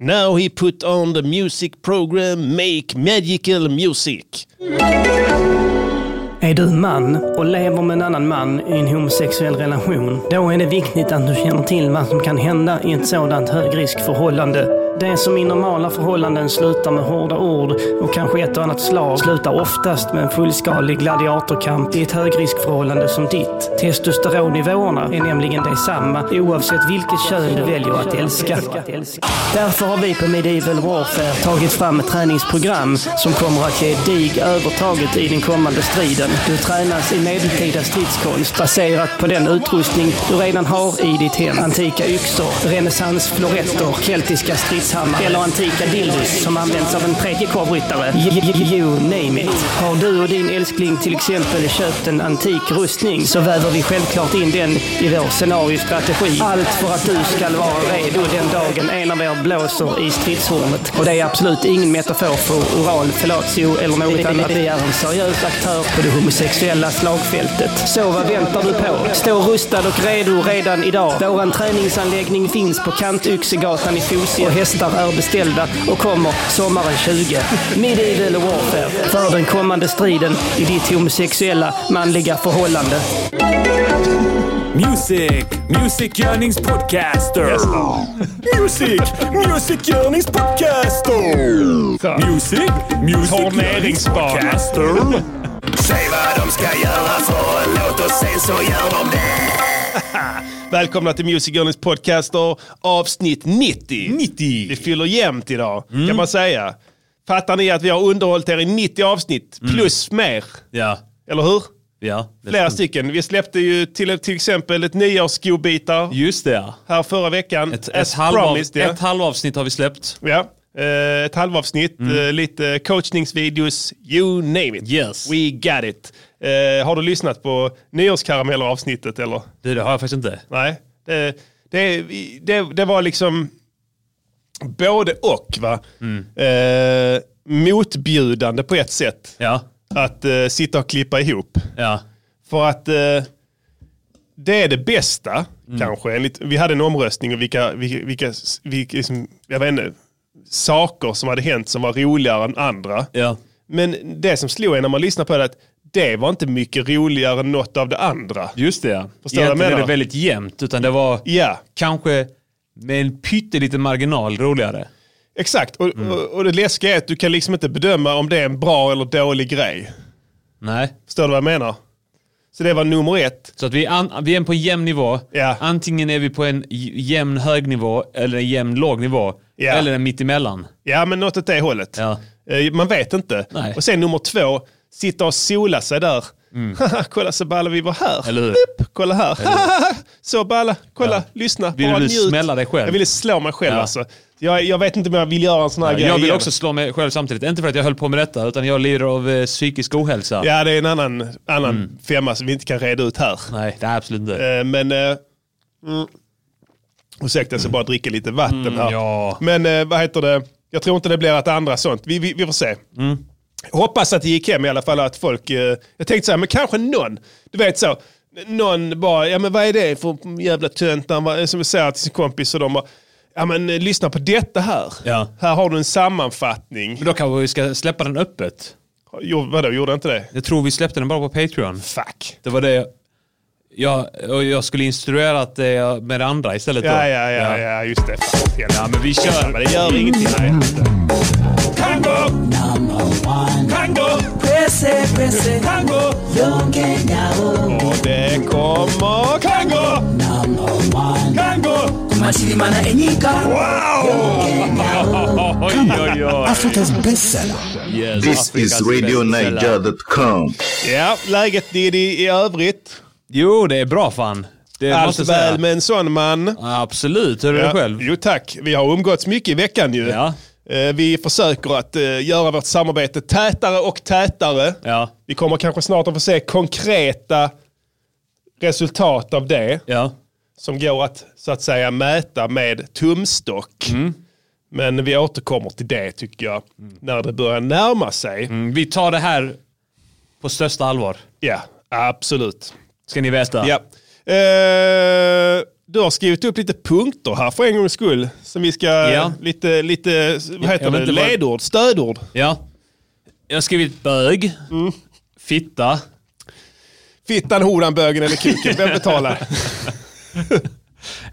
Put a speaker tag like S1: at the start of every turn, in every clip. S1: Now he put on the music program Make Magical Music.
S2: Är du man och lever med en annan man i en homosexuell relation, då är det viktigt att du känner till vad som kan hända i ett sådant högriskförhållande. Det som i normala förhållanden slutar med hårda ord och kanske ett och annat slag slutar oftast med en fullskalig gladiatorkamp i ett högriskförhållande som ditt. Testosteronnivåerna är nämligen detsamma oavsett vilket kön du väljer att älska. Därför har vi på Medieval Warfare tagit fram ett träningsprogram som kommer att ge dig övertaget i den kommande striden. Du tränas i medeltida stridskonst baserat på den utrustning du redan har i ditt hem. Antika yxor, renässansfloretter, keltiska stridshammar eller antika dildos som används av en tredjekorvryttare. Y- y- You name it. Har du och din älskling till exempel köpt en antik rustning så väver vi självklart in den i vår scenariostrategi. Allt för att du ska vara redo den dagen en av er blåser i stridshornet. Och det är absolut ingen metafor för oral fellatio eller något annat. Vi är en seriös aktör på det homosexuella slagfältet. Så vad väntar du på? Stå rustad och redo redan idag. Våran träningsanläggning finns på Kantyxegatan i Fosie och hästar är beställda och kommer sommaren 20. Medieval Warfare för den kommande striden i ditt homosexuella manliga förhållande.
S3: Music, Music Yearnings Podcaster. Music, Music Yearnings Podcaster.
S4: Så.
S3: Music, Music Yearnings
S4: Torneringsbana.
S3: Podcaster.
S5: Säg vad de ska göra för en låt och sen så gör de det.
S1: Välkomna till Music Journeys podcast och avsnitt 90.
S4: 90.
S1: Vi fyller jämnt idag, kan
S4: Mm.
S1: man säga. Fattar ni att vi har underhållit er i 90 avsnitt, plus mer?
S4: Ja,
S1: Eller hur?
S4: ja. Mm. det-
S1: Flera stycken. Vi släppte ju till, till exempel ett nyårsgodbitar
S4: Just det ja.
S1: här förra veckan.
S4: Ett, ett,
S1: As
S4: halvav,
S1: promised, ja.
S4: ett halvavsnitt har vi släppt.
S1: Ja, eh, ett halvavsnitt,
S4: Mm.
S1: eh, lite coachningsvideos, you name it.
S4: Yes.
S1: We got it. Eh, Har du lyssnat på nyårskarameller-avsnittet eller?
S4: Du, det har jag faktiskt inte.
S1: Nej, det, det, det, det var liksom både och va.
S4: Mm.
S1: Eh, motbjudande på ett sätt
S4: Ja,
S1: att eh, sitta och klippa ihop.
S4: ja.
S1: För att eh, det är det bästa, kanske. Enligt, vi hade en omröstning och vilka, vilka, vilka, vilka liksom, jag vet inte, saker som hade hänt som var roligare än andra.
S4: Ja.
S1: Men det som slog en när man lyssnade på det, att det var inte mycket roligare än något av det andra.
S4: Just det ja.
S1: Förstår du vad jag
S4: Egentligen är det
S1: menar?
S4: väldigt jämnt, utan det var
S1: Ja,
S4: kanske med en pytteliten marginal roligare.
S1: exakt. Och, och, och det läskiga är att du kan liksom inte bedöma om det är en bra eller dålig grej.
S4: Nej.
S1: Förstår du vad jag menar? Så det var nummer ett.
S4: Så att vi, är an, vi är på en jämn nivå.
S1: Ja.
S4: Antingen är vi på en j- jämn hög nivå eller en jämn låg nivå.
S1: Ja.
S4: Eller en mittemellan.
S1: Ja, men något åt det hållet.
S4: Ja.
S1: Eh, Man vet inte.
S4: Nej.
S1: Och sen nummer två, sitta och sola sig där. Haha, kolla så balla vi var här.
S4: Mm. Eller hur?
S1: Blipp, kolla här. Haha, så balla, kolla,
S4: Ja.
S1: lyssna.
S4: Vill
S1: bara
S4: du
S1: njut.
S4: smälla dig själv?
S1: Jag ville slå mig själv
S4: Ja.
S1: alltså. Jag, jag vet inte om jag vill göra en sån här grej
S4: Jag vill
S1: igen.
S4: också slå mig själv samtidigt. Inte för att jag höll på med detta, utan jag lider av eh, psykisk ohälsa.
S1: Ja, det är en annan, annan femma som vi inte kan reda ut här.
S4: Mm. Nej, det är absolut inte.
S1: Eh, Men... eh, Mm. Ursäkta, jag ska bara dricka lite vatten här.
S4: Mm, ja.
S1: Men eh, vad heter det? Jag tror inte det blir att andra sånt. Vi, vi, vi får se.
S4: Mm.
S1: Hoppas att det gick hem i alla fall. Att folk, eh, jag tänkte så här, men kanske någon. Du vet så. Någon bara, ja men vad är det för jävla töntar? Vad- Som säger till sin kompis och de bara, ja men eh, lyssna på detta här.
S4: Ja.
S1: Här har du en sammanfattning.
S4: Men då kanske vi ska släppa den öppet.
S1: Jo, vadå, gjorde jag inte det?
S4: Jag tror vi släppte den bara på Patreon.
S1: Fuck.
S4: Det var det jag... Jag, och jag skulle instruerat det med det andra istället då.
S1: Ja, ja, ja, ja, just det. Fan,
S4: Ja, men vi
S1: Ja,
S4: kör. Mm.
S1: men det gör ingenting. Nej.
S3: Tango, tango, tango,
S1: Och det kommer
S3: tango, tango.
S4: Oj, oj, oj.
S6: Africa's bestseller.
S4: Yes,
S7: This is
S4: Afrikas bästa land.
S7: RadioNaja.com.
S1: Ja, läget Diddy i övrigt.
S4: Jo, det är bra fan. Det
S1: Allt
S4: måste jag säga.
S1: väl med en sån man.
S4: Absolut, hur är det själv?
S1: Jo tack, vi har umgåtts mycket i veckan ju.
S4: Ja.
S1: Eh, Vi försöker att eh, göra vårt samarbete tätare och tätare.
S4: Ja.
S1: Vi kommer kanske snart att få se konkreta resultat av det
S4: Ja.
S1: som går att så att säga mäta med tumstock.
S4: Mm.
S1: Men vi återkommer till det tycker jag när det börjar närma sig.
S4: Mm, Vi tar det här på största allvar.
S1: Ja, absolut.
S4: Ska ni veta.
S1: Ja. Eh, du har skrivit upp lite punkter här för en gångs skull. Som vi ska,
S4: Ja.
S1: lite, lite
S4: jag
S1: vad heter
S4: vet
S1: det,
S4: inte vad-
S1: ledord, stödord.
S4: Ja. Jag har skrivit bög,
S1: Mm.
S4: fitta, Eh,
S1: Fittan, horan, bögen eller kuken, vem betalar?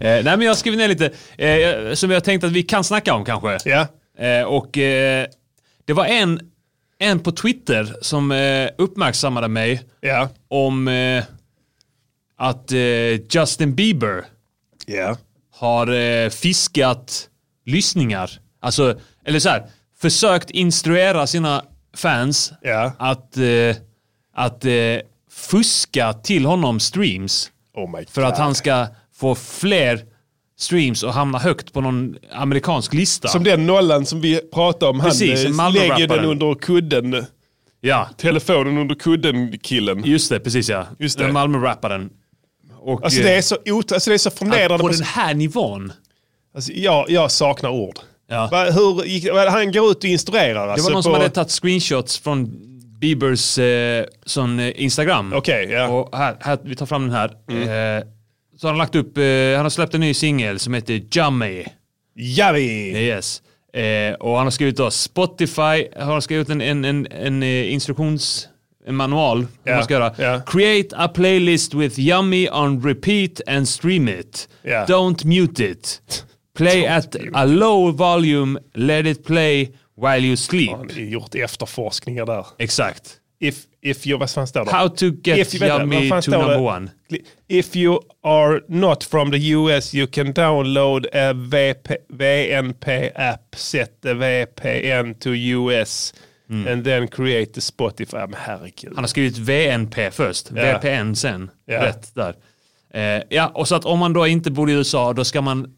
S4: Eh, nej men jag har skrivit ner lite eh, som jag tänkte att vi kan snacka om kanske.
S1: ja.
S4: Eh, och eh, det var en, en på Twitter som eh, uppmärksammade mig
S1: Ja.
S4: om eh, att eh, Justin Bieber
S1: Ja.
S4: har eh, fiskat lyssningar. Alltså, eller så här, försökt instruera sina fans
S1: Ja.
S4: att, eh, att eh, fuska till honom streams.
S1: Oh my God.
S4: För att han ska få fler streams och hamna högt på någon amerikansk lista.
S1: Som den nollan som vi pratade om, han
S4: Precis,
S1: eh,
S4: Malmö-rapparen.
S1: lägger den under kudden.
S4: ja,
S1: Telefonen under kudden-killen.
S4: just det, precis ja.
S1: Just det.
S4: Den Malmö-rapparen. Och,
S1: Alltså
S4: eh,
S1: det är så, ot- alltså det är så
S4: att
S1: förnedrande.
S4: på
S1: på-
S4: den här nivån.
S1: Alltså, jag, jag saknar ord.
S4: Ja.
S1: Va, hur gick, va, han går ut och instruerar.
S4: Det
S1: alltså,
S4: var någon
S1: på,
S4: som hade tagit screenshots från Biebers eh, sån, eh, Instagram.
S1: Okej, ja. Mm.
S4: Och här, här, vi tar fram den här. Eh, så har han lagt upp, eh, han har släppt en ny singel som heter Jummy.
S1: Mm. Javi!
S4: Yes. Eh, och han har skrivit då Spotify, har han skrivit en, en, en, en eh, instruktions, en manual hur
S1: Ja,
S4: man ska göra.
S1: ja.
S4: Create a playlist with Yummy on repeat and stream it.
S1: Ja.
S4: Don't mute it. Play at a low volume, let it play while you sleep.
S1: Han har gjort efterforskningar där.
S4: Exakt.
S1: If, if you, vad fan står det?
S4: How to get
S1: If- vänta, vad
S4: Yummy
S1: fan
S4: to
S1: står det?
S4: number one.
S1: If you are not from the US you can download a VP, VNP app, set the VPN to US
S4: Mm.
S1: and then create the Spotify. Men herregud.
S4: Han har skrivit VNP först,
S1: Ja.
S4: VPN sen.
S1: Ja.
S4: Rätt där. Eh, ja, och så att om man då inte bor i USA, då ska man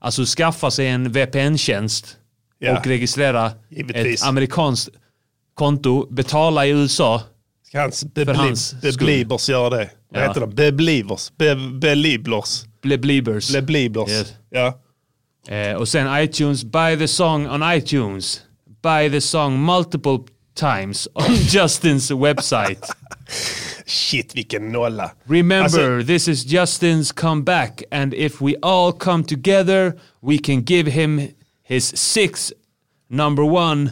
S4: alltså skaffa sig en VPN-tjänst
S1: Ja.
S4: och registrera
S1: Givetvis.
S4: ett amerikanskt konto, betala i USA.
S1: Ska hans bebli-
S4: hans skull.
S1: beblibers göra det? Vad
S4: Ja.
S1: heter de? Beblibers? Be, beliblers?
S4: Ble- Bleebers.
S1: Beblibers?
S4: Yes.
S1: Ja.
S4: Eh, och sen iTunes, buy the song on iTunes. Buy the song multiple times on Justins website.
S1: Shit vilken nolla.
S4: Remember,
S1: Alltså-
S4: this is Justin's comeback, and if we all come together, we can give him his sixth number one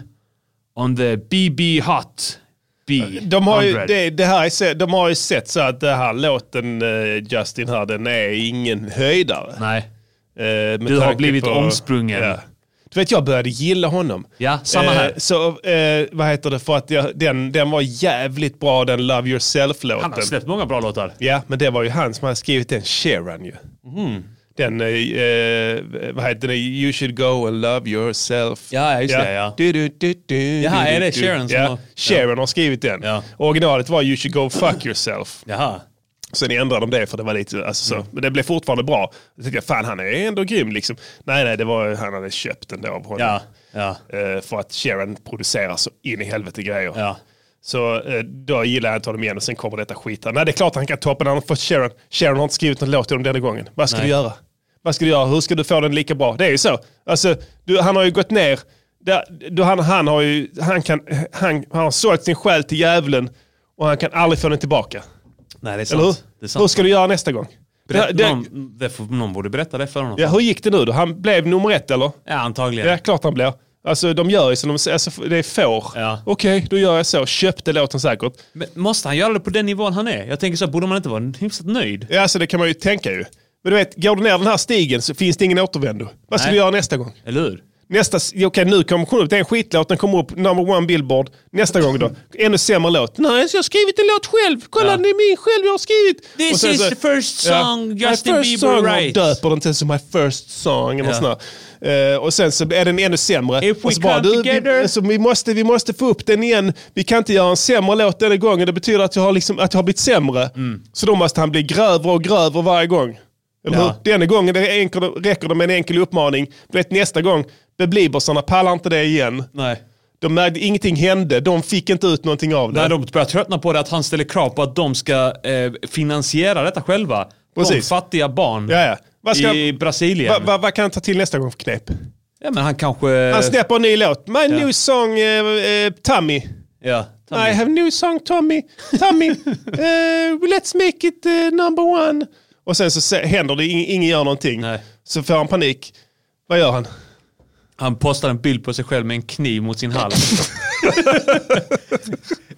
S4: on the BB Hot B.
S1: De har, ju,
S4: 100.
S1: det, det här är, se- de har ju sett så att det här låten eh, Justin här, den är ingen höjdare.
S4: Nej.
S1: Eh, med
S4: har
S1: tanke
S4: blivit omsprungen.
S1: Du vet, jag började gilla honom.
S4: Ja, samma här.
S1: Eh, så, eh, vad heter det, för att jag, den, den var jävligt bra den Love
S4: Han har
S1: Yourself-låten.
S4: släppt många bra låtar.
S1: Ja, men det var ju han som hade skrivit den, Sheeran ju.
S4: Mm-hmm.
S1: Den, eh, eh, vad heter den, You should go and love yourself.
S4: Ja, just det, ja.
S1: Du, du, du, du,
S4: Jaha,
S1: du,
S4: är det
S1: du.
S4: Sheeran som
S1: ja.
S4: har-
S1: Sheeran har skrivit den.
S4: Ja.
S1: Originalet var You should go fuck yourself.
S4: Jaha.
S1: Sen ändrade de det för det var lite, alltså,
S4: Mm.
S1: så, men det blev fortfarande bra. Jag tänkte, fan han är ändå grym liksom. Nej, nej, det var han hade köpt den då av honom.
S4: Ja, ja.
S1: Eh, för att Sharon producerar så in i helvete grejer.
S4: Ja.
S1: Så eh, då gillar jag inte honom igen och sen kommer detta skit. här. Nej, det är klart han kan toppa när han får Sharon. Sharon har inte skrivit någon låt till honom denna gången. Vad ska
S4: Nej.
S1: du göra? Vad ska du göra? Hur ska du få den lika bra? Det är ju så. Alltså, du, han har ju gått ner. Där, du, han, han, har ju, han, kan, han, han har sålt sin själ till djävulen och han kan aldrig få den tillbaka.
S4: Nej, det är sant.
S1: Eller hur?
S4: Det är
S1: Hur
S4: sant.
S1: ska du göra nästa gång?
S4: Berätta,
S1: det, det,
S4: någon, det får, någon borde berätta det för honom. Ja,
S1: ja, hur gick det nu då? Han blev nummer ett eller?
S4: antagligen.
S1: Ja, klart han blir. Alltså de gör ju som de säger, alltså, det är får.
S4: Ja.
S1: Okej, då gör jag så. Köpte låten säkert.
S4: Men måste han göra det på den nivån han är? Jag tänker så här, borde man inte vara hyfsat nöjd?
S1: Ja, alltså det kan man ju tänka ju. Men du vet, går du ner den här stigen så finns det ingen återvändo. Vad ska
S4: Nej.
S1: du göra nästa gång?
S4: Eller hur?
S1: Nästa, s- okej nu kommer hon upp, det är en skitlåt, den kommer upp number one billboard. Nästa gång då, ännu sämre låt. Nej, jag har skrivit en låt själv. Kolla,
S4: Ja.
S1: det är min själv jag har skrivit.
S4: This
S1: Och sen
S4: is the first song
S1: My
S4: Justin
S1: first
S4: Bieber
S1: song,
S4: writes.
S1: Hon döper den till som My first song. Eller
S4: Ja.
S1: sån här. Eh, och sen så är den ännu sämre.
S4: If we
S1: och så
S4: come
S1: du,
S4: together-
S1: Vi, alltså, vi, måste, vi måste få upp den igen. Vi kan inte göra en sämre låt denna gången. Det betyder att jag har, liksom, att jag har blivit sämre.
S4: Mm.
S1: Så då måste han bli grövre och grövre varje gång. Eller
S4: Ja.
S1: hur? Denna gången det är enkel, räcker det med en enkel uppmaning. Du vet nästa gång, beblibersarna pallar inte det igen.
S4: Nej.
S1: De märkte, ingenting hände, de fick inte ut någonting av det.
S4: När de börjar tröttna på det att han ställer krav på att de ska eh, finansiera detta själva. De
S1: Precis.
S4: fattiga barn
S1: ja, ja. Vad, ska,
S4: i Brasilien.
S1: vad, vad, vad kan han ta till nästa gång för knep?
S4: Ja, men han kanske...
S1: Han släpper en ny låt. My new song eh, eh, Tommy.
S4: ja,
S1: I have new song Tommy. Tommy. eh, let's make it eh, number one. Och sen så se- händer det, ing- ingen gör någonting.
S4: Nej.
S1: Så får han panik. Vad gör han?
S4: Han postar en bild på sig själv med en kniv mot sin hals.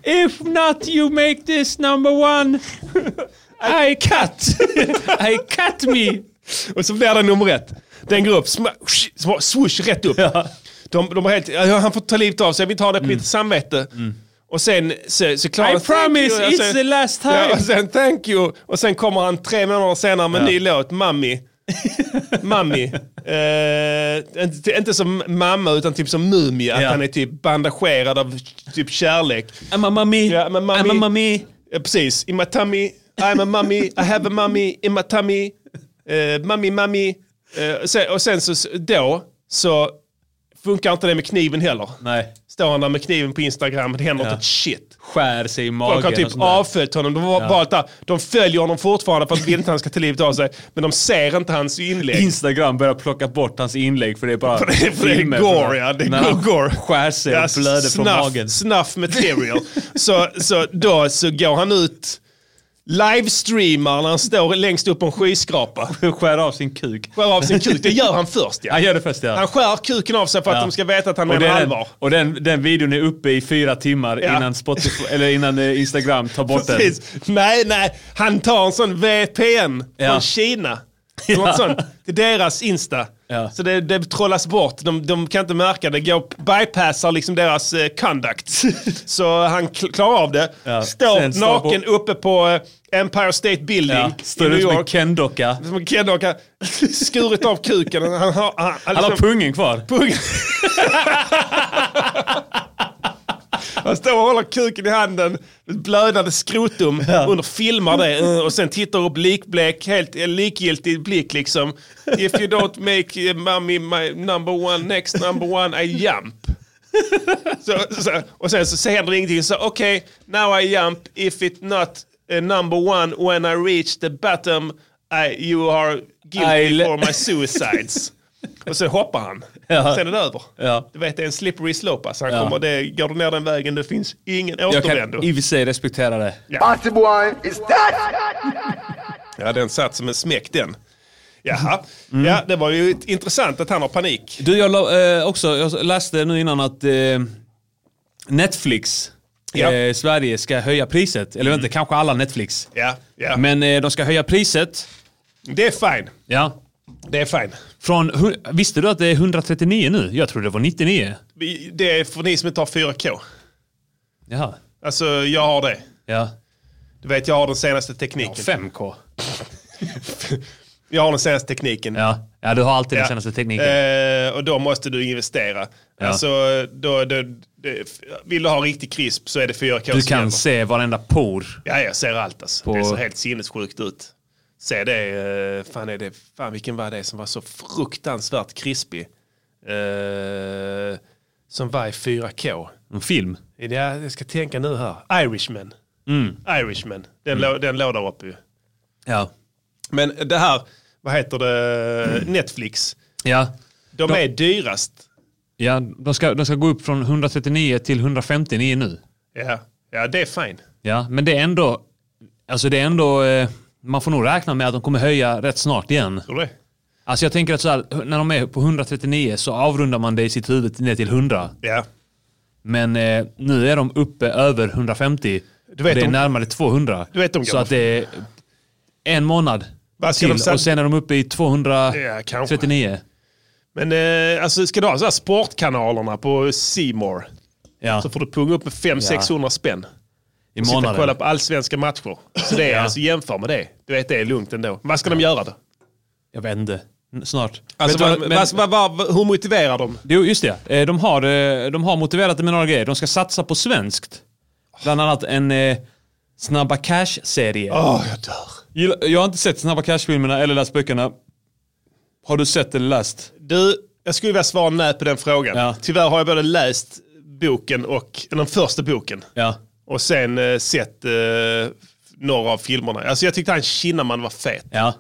S4: If not you make this number one, I cut. I cut me.
S1: Och så blir det nummer ett. Den går upp, sma- sh- sma- swoosh, rätt upp. De, de har helt, ja, han får ta livet av sig, vi tar det på lite samvete. Och sen så, så klarar
S4: Mm. I promise, it's the last time.
S1: Alltså- Ja, och sen thank you. Och sen kommer han tre månader senare med en ny låt, Mummy. Mummy. Eh, inte, inte som mamma utan typ som mumia.
S4: Ja.
S1: Att han är typ bandagerad av typ kärlek.
S4: I'm a mummy,
S1: Ja, I'm a mummy.
S4: I'm a mummy.
S1: Ja, precis. In my tummy, I'm a mummy, I have a mummy, in my tummy, uh, mummy, mummy. Eh, och sen, och sen så, då så funkar inte det med kniven heller.
S4: Nej,
S1: Står han där med kniven på Instagram, det händer
S4: Ja.
S1: inte ett shit.
S4: skär sig i magen.
S1: Folk har
S4: och
S1: typ
S4: sånt där.
S1: avföljt honom. De, har valt där. de följer honom fortfarande för att de vill inte han ska ta livet av sig. Men de ser inte hans inlägg.
S4: Instagram börjar plocka bort hans inlägg för det är bara
S1: För det- för det är
S4: filmer
S1: gore,
S4: från-
S1: ja, det är
S4: när han
S1: gore.
S4: skär sig och blöder från
S1: snuff-
S4: magen.
S1: Snuff material. så, så då så går han ut, livestreamar när han står längst upp på en skyskrapa.
S4: Skär av sin kuk.
S1: Skär av sin kuk, det gör han först ja.
S4: Han gör det först ja.
S1: Han skär kuken av sig för att
S4: Ja.
S1: de ska veta att han
S4: Och
S1: menar
S4: den,
S1: allvar.
S4: och den, den videon är uppe i fyra timmar
S1: Ja.
S4: innan, Spotify, eller innan eh, Instagram tar bort den.
S1: Precis. Nej, nej. Han tar en sån VPN
S4: Ja.
S1: från Kina. Ja. Något sånt. Det är deras Insta.
S4: Ja.
S1: Så det, det trollas bort. De, de kan inte märka det. Går, bypassar liksom deras eh, conduct. Så han kl- klarar av det.
S4: Ja. Sen
S1: Står
S4: står
S1: naken uppe på eh, Empire State Building
S4: Ja.
S1: i
S4: Står
S1: New
S4: ut med
S1: York.
S4: Ken-docka.
S1: Som en kid och har skurit av kuken. Han, han, har- han, han,
S4: Han har
S1: liksom-
S4: pungen kvar.
S1: pung. Han står och håller kuken i handen, blödande skrotum, under filmar det eh, och sen tittar upp likblek, helt eh, likgiltig blick liksom. If you don't make eh, mommy my number one, next number one, I jump. Så, så, och sen så händer det ingenting. Så okej, now I jump, if it not eh, number one, when I reach the bottom, I, you are
S4: I
S1: guilty
S4: le-
S1: for my suicides. Och sen hoppar han.
S4: Ja.
S1: Sen är det över.
S4: Ja.
S1: Du vet, det är en slippery slope. Alltså. Han
S4: Ja.
S1: kommer, det, går du ner den vägen, det finns ingen
S4: Jag
S1: återvändo.
S4: kan i och för sig respektera det.
S6: Artiboy is dead!
S1: Ja, den satt som en smäck den. Jaha,
S4: Mm.
S1: ja, det var ju ett- intressant att han har panik.
S4: Du, jag la, eh, också, jag läste nu innan att eh, Netflix
S1: Ja. Mm.
S4: eh, Sverige ska höja priset. Eller vänta, kanske alla Netflix.
S1: Ja, ja.
S4: Men eh, de ska höja priset.
S1: det är fine.
S4: Ja.
S1: Det är fine.
S4: Från, hu- visste du att det är 139 nu? Jag trodde det var 99.
S1: Vi- Det är för ni som inte har 4K.
S4: Jaha.
S1: Alltså, jag har det.
S4: Ja.
S1: Du vet, jag har den senaste tekniken.
S4: 5K.
S1: Jag har den senaste tekniken.
S4: Ja. ja, du har alltid
S1: Ja.
S4: den senaste tekniken.
S1: Eh, och då måste du investera.
S4: Ja.
S1: Alltså, då, då, det, vill du ha riktigt krisp så är det 4K
S4: Du
S1: som
S4: kan
S1: gäller.
S4: se varenda por.
S1: Ja, jag ser allt alltså.
S4: På-
S1: Det ser helt sinnessjukt ut. Se det, eh, fan är det, fan vilken var det som var så fruktansvärt krispig? Eh, som var i 4K.
S4: En film.
S1: Ja, jag ska tänka nu här. Irishman.
S4: Mm.
S1: Irishman. Den, lå, den låg där uppe ju.
S4: Ja.
S1: Men det här, vad heter det, Netflix.
S4: Ja.
S1: De,
S4: Mm. De-
S1: är dyrast.
S4: ja de, ska, de ska gå upp från 139 till 159 nu.
S1: Ja, ja det är fine.
S4: Ja, men det är ändå... Alltså det är ändå... Eh, man får nog räkna med att de kommer höja rätt snart igen.
S1: Tror du det?
S4: Alltså jag tänker att så här, när de är på 139 så avrundar man det i sitt huvud ner till 100.
S1: Ja.
S4: Men eh, nu är de uppe över 150.
S1: Du vet,
S4: det är
S1: de-
S4: närmare 200.
S1: Du vet, de går
S4: så att det är en månad
S1: Vad ska
S4: till
S1: de sen-
S4: och sen är de uppe i 239.
S1: 239. Men eh, alltså, ska du ha så här sportkanalerna på C More?
S4: Ja,
S1: Så får du punga upp med 500-600 spänn.
S4: i
S1: Och sitta och kolla
S4: månaden.
S1: på allsvenska matcher. Så det är alltså jämför med det. Du vet det är lugnt ändå. Vad ska de göra då?
S4: Jag vet inte. N- Snart.
S1: Alltså,
S4: Men-
S1: vad-
S4: men-
S1: vad- vad- vad- hur motiverar de?
S4: Jo, just det. Eh, De har, eh, de har motiverat det med några grejer. De ska satsa på svenskt. Bland annat en eh, Snabba Cash-serie.
S1: Åh, jag dör.
S4: Gilla- Jag har inte sett Snabba Cash-filmerna eller läst böckerna. Har du sett eller läst?
S1: Du, jag skulle vilja svara nej på den frågan.
S4: Ja.
S1: Tyvärr har jag både läst boken och, eller den första boken.
S4: Ja.
S1: Och sen eh, sett eh, några av filmerna. Alltså jag tyckte han Kinnaman var fet.
S4: Ja.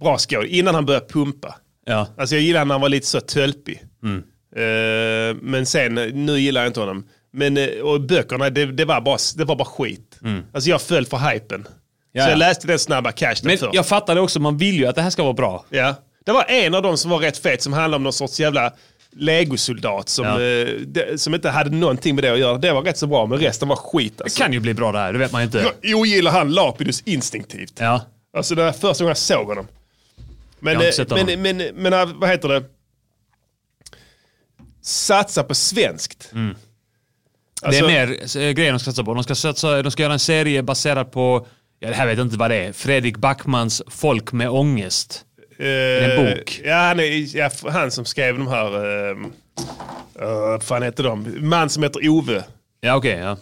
S1: Bra skål. Innan han började pumpa.
S4: Ja.
S1: Alltså jag gillade när han var lite så tölpig.
S4: Mm.
S1: Eh, men sen, nu gillar jag inte honom. Men, eh, och böckerna, det, det, var bara, det var bara skit. Alltså jag föll för hypen. Så
S4: Mm. Ja, ja.
S1: jag läste den snabba cash
S4: Men
S1: först.
S4: jag fattade också, man vill ju att det här ska vara bra.
S1: Ja. Det var en av dem som var rätt fet som handlade om någon sorts jävla legosoldat som,
S4: Ja.
S1: eh, de, som inte hade någonting med det att göra. Det var rätt så bra, men resten var skit.
S4: Det
S1: Alltså.
S4: kan ju bli bra det här, det vet man ju inte.
S1: Jag ogillar han Lapidus instinktivt.
S4: Ja.
S1: Alltså det var första gången jag såg honom. Men,
S4: Jag har
S1: eh,
S4: inte sett
S1: men,
S4: honom.
S1: men, men, eh, vad heter det? Satsa på svenskt. Alltså-
S4: Mm. det är mer eh, grejer de ska satsa på. De ska, satsa, de ska göra en serie baserad på, ja, det här vet jag inte vad det är, Fredrik Backmans Folk med ångest.
S1: Eh,
S4: En bok.
S1: Ja, han, är, ja, f- han som skrev de här... eh, eh, vad fan heter de? Man som heter Ove.
S4: Ja okej, ja.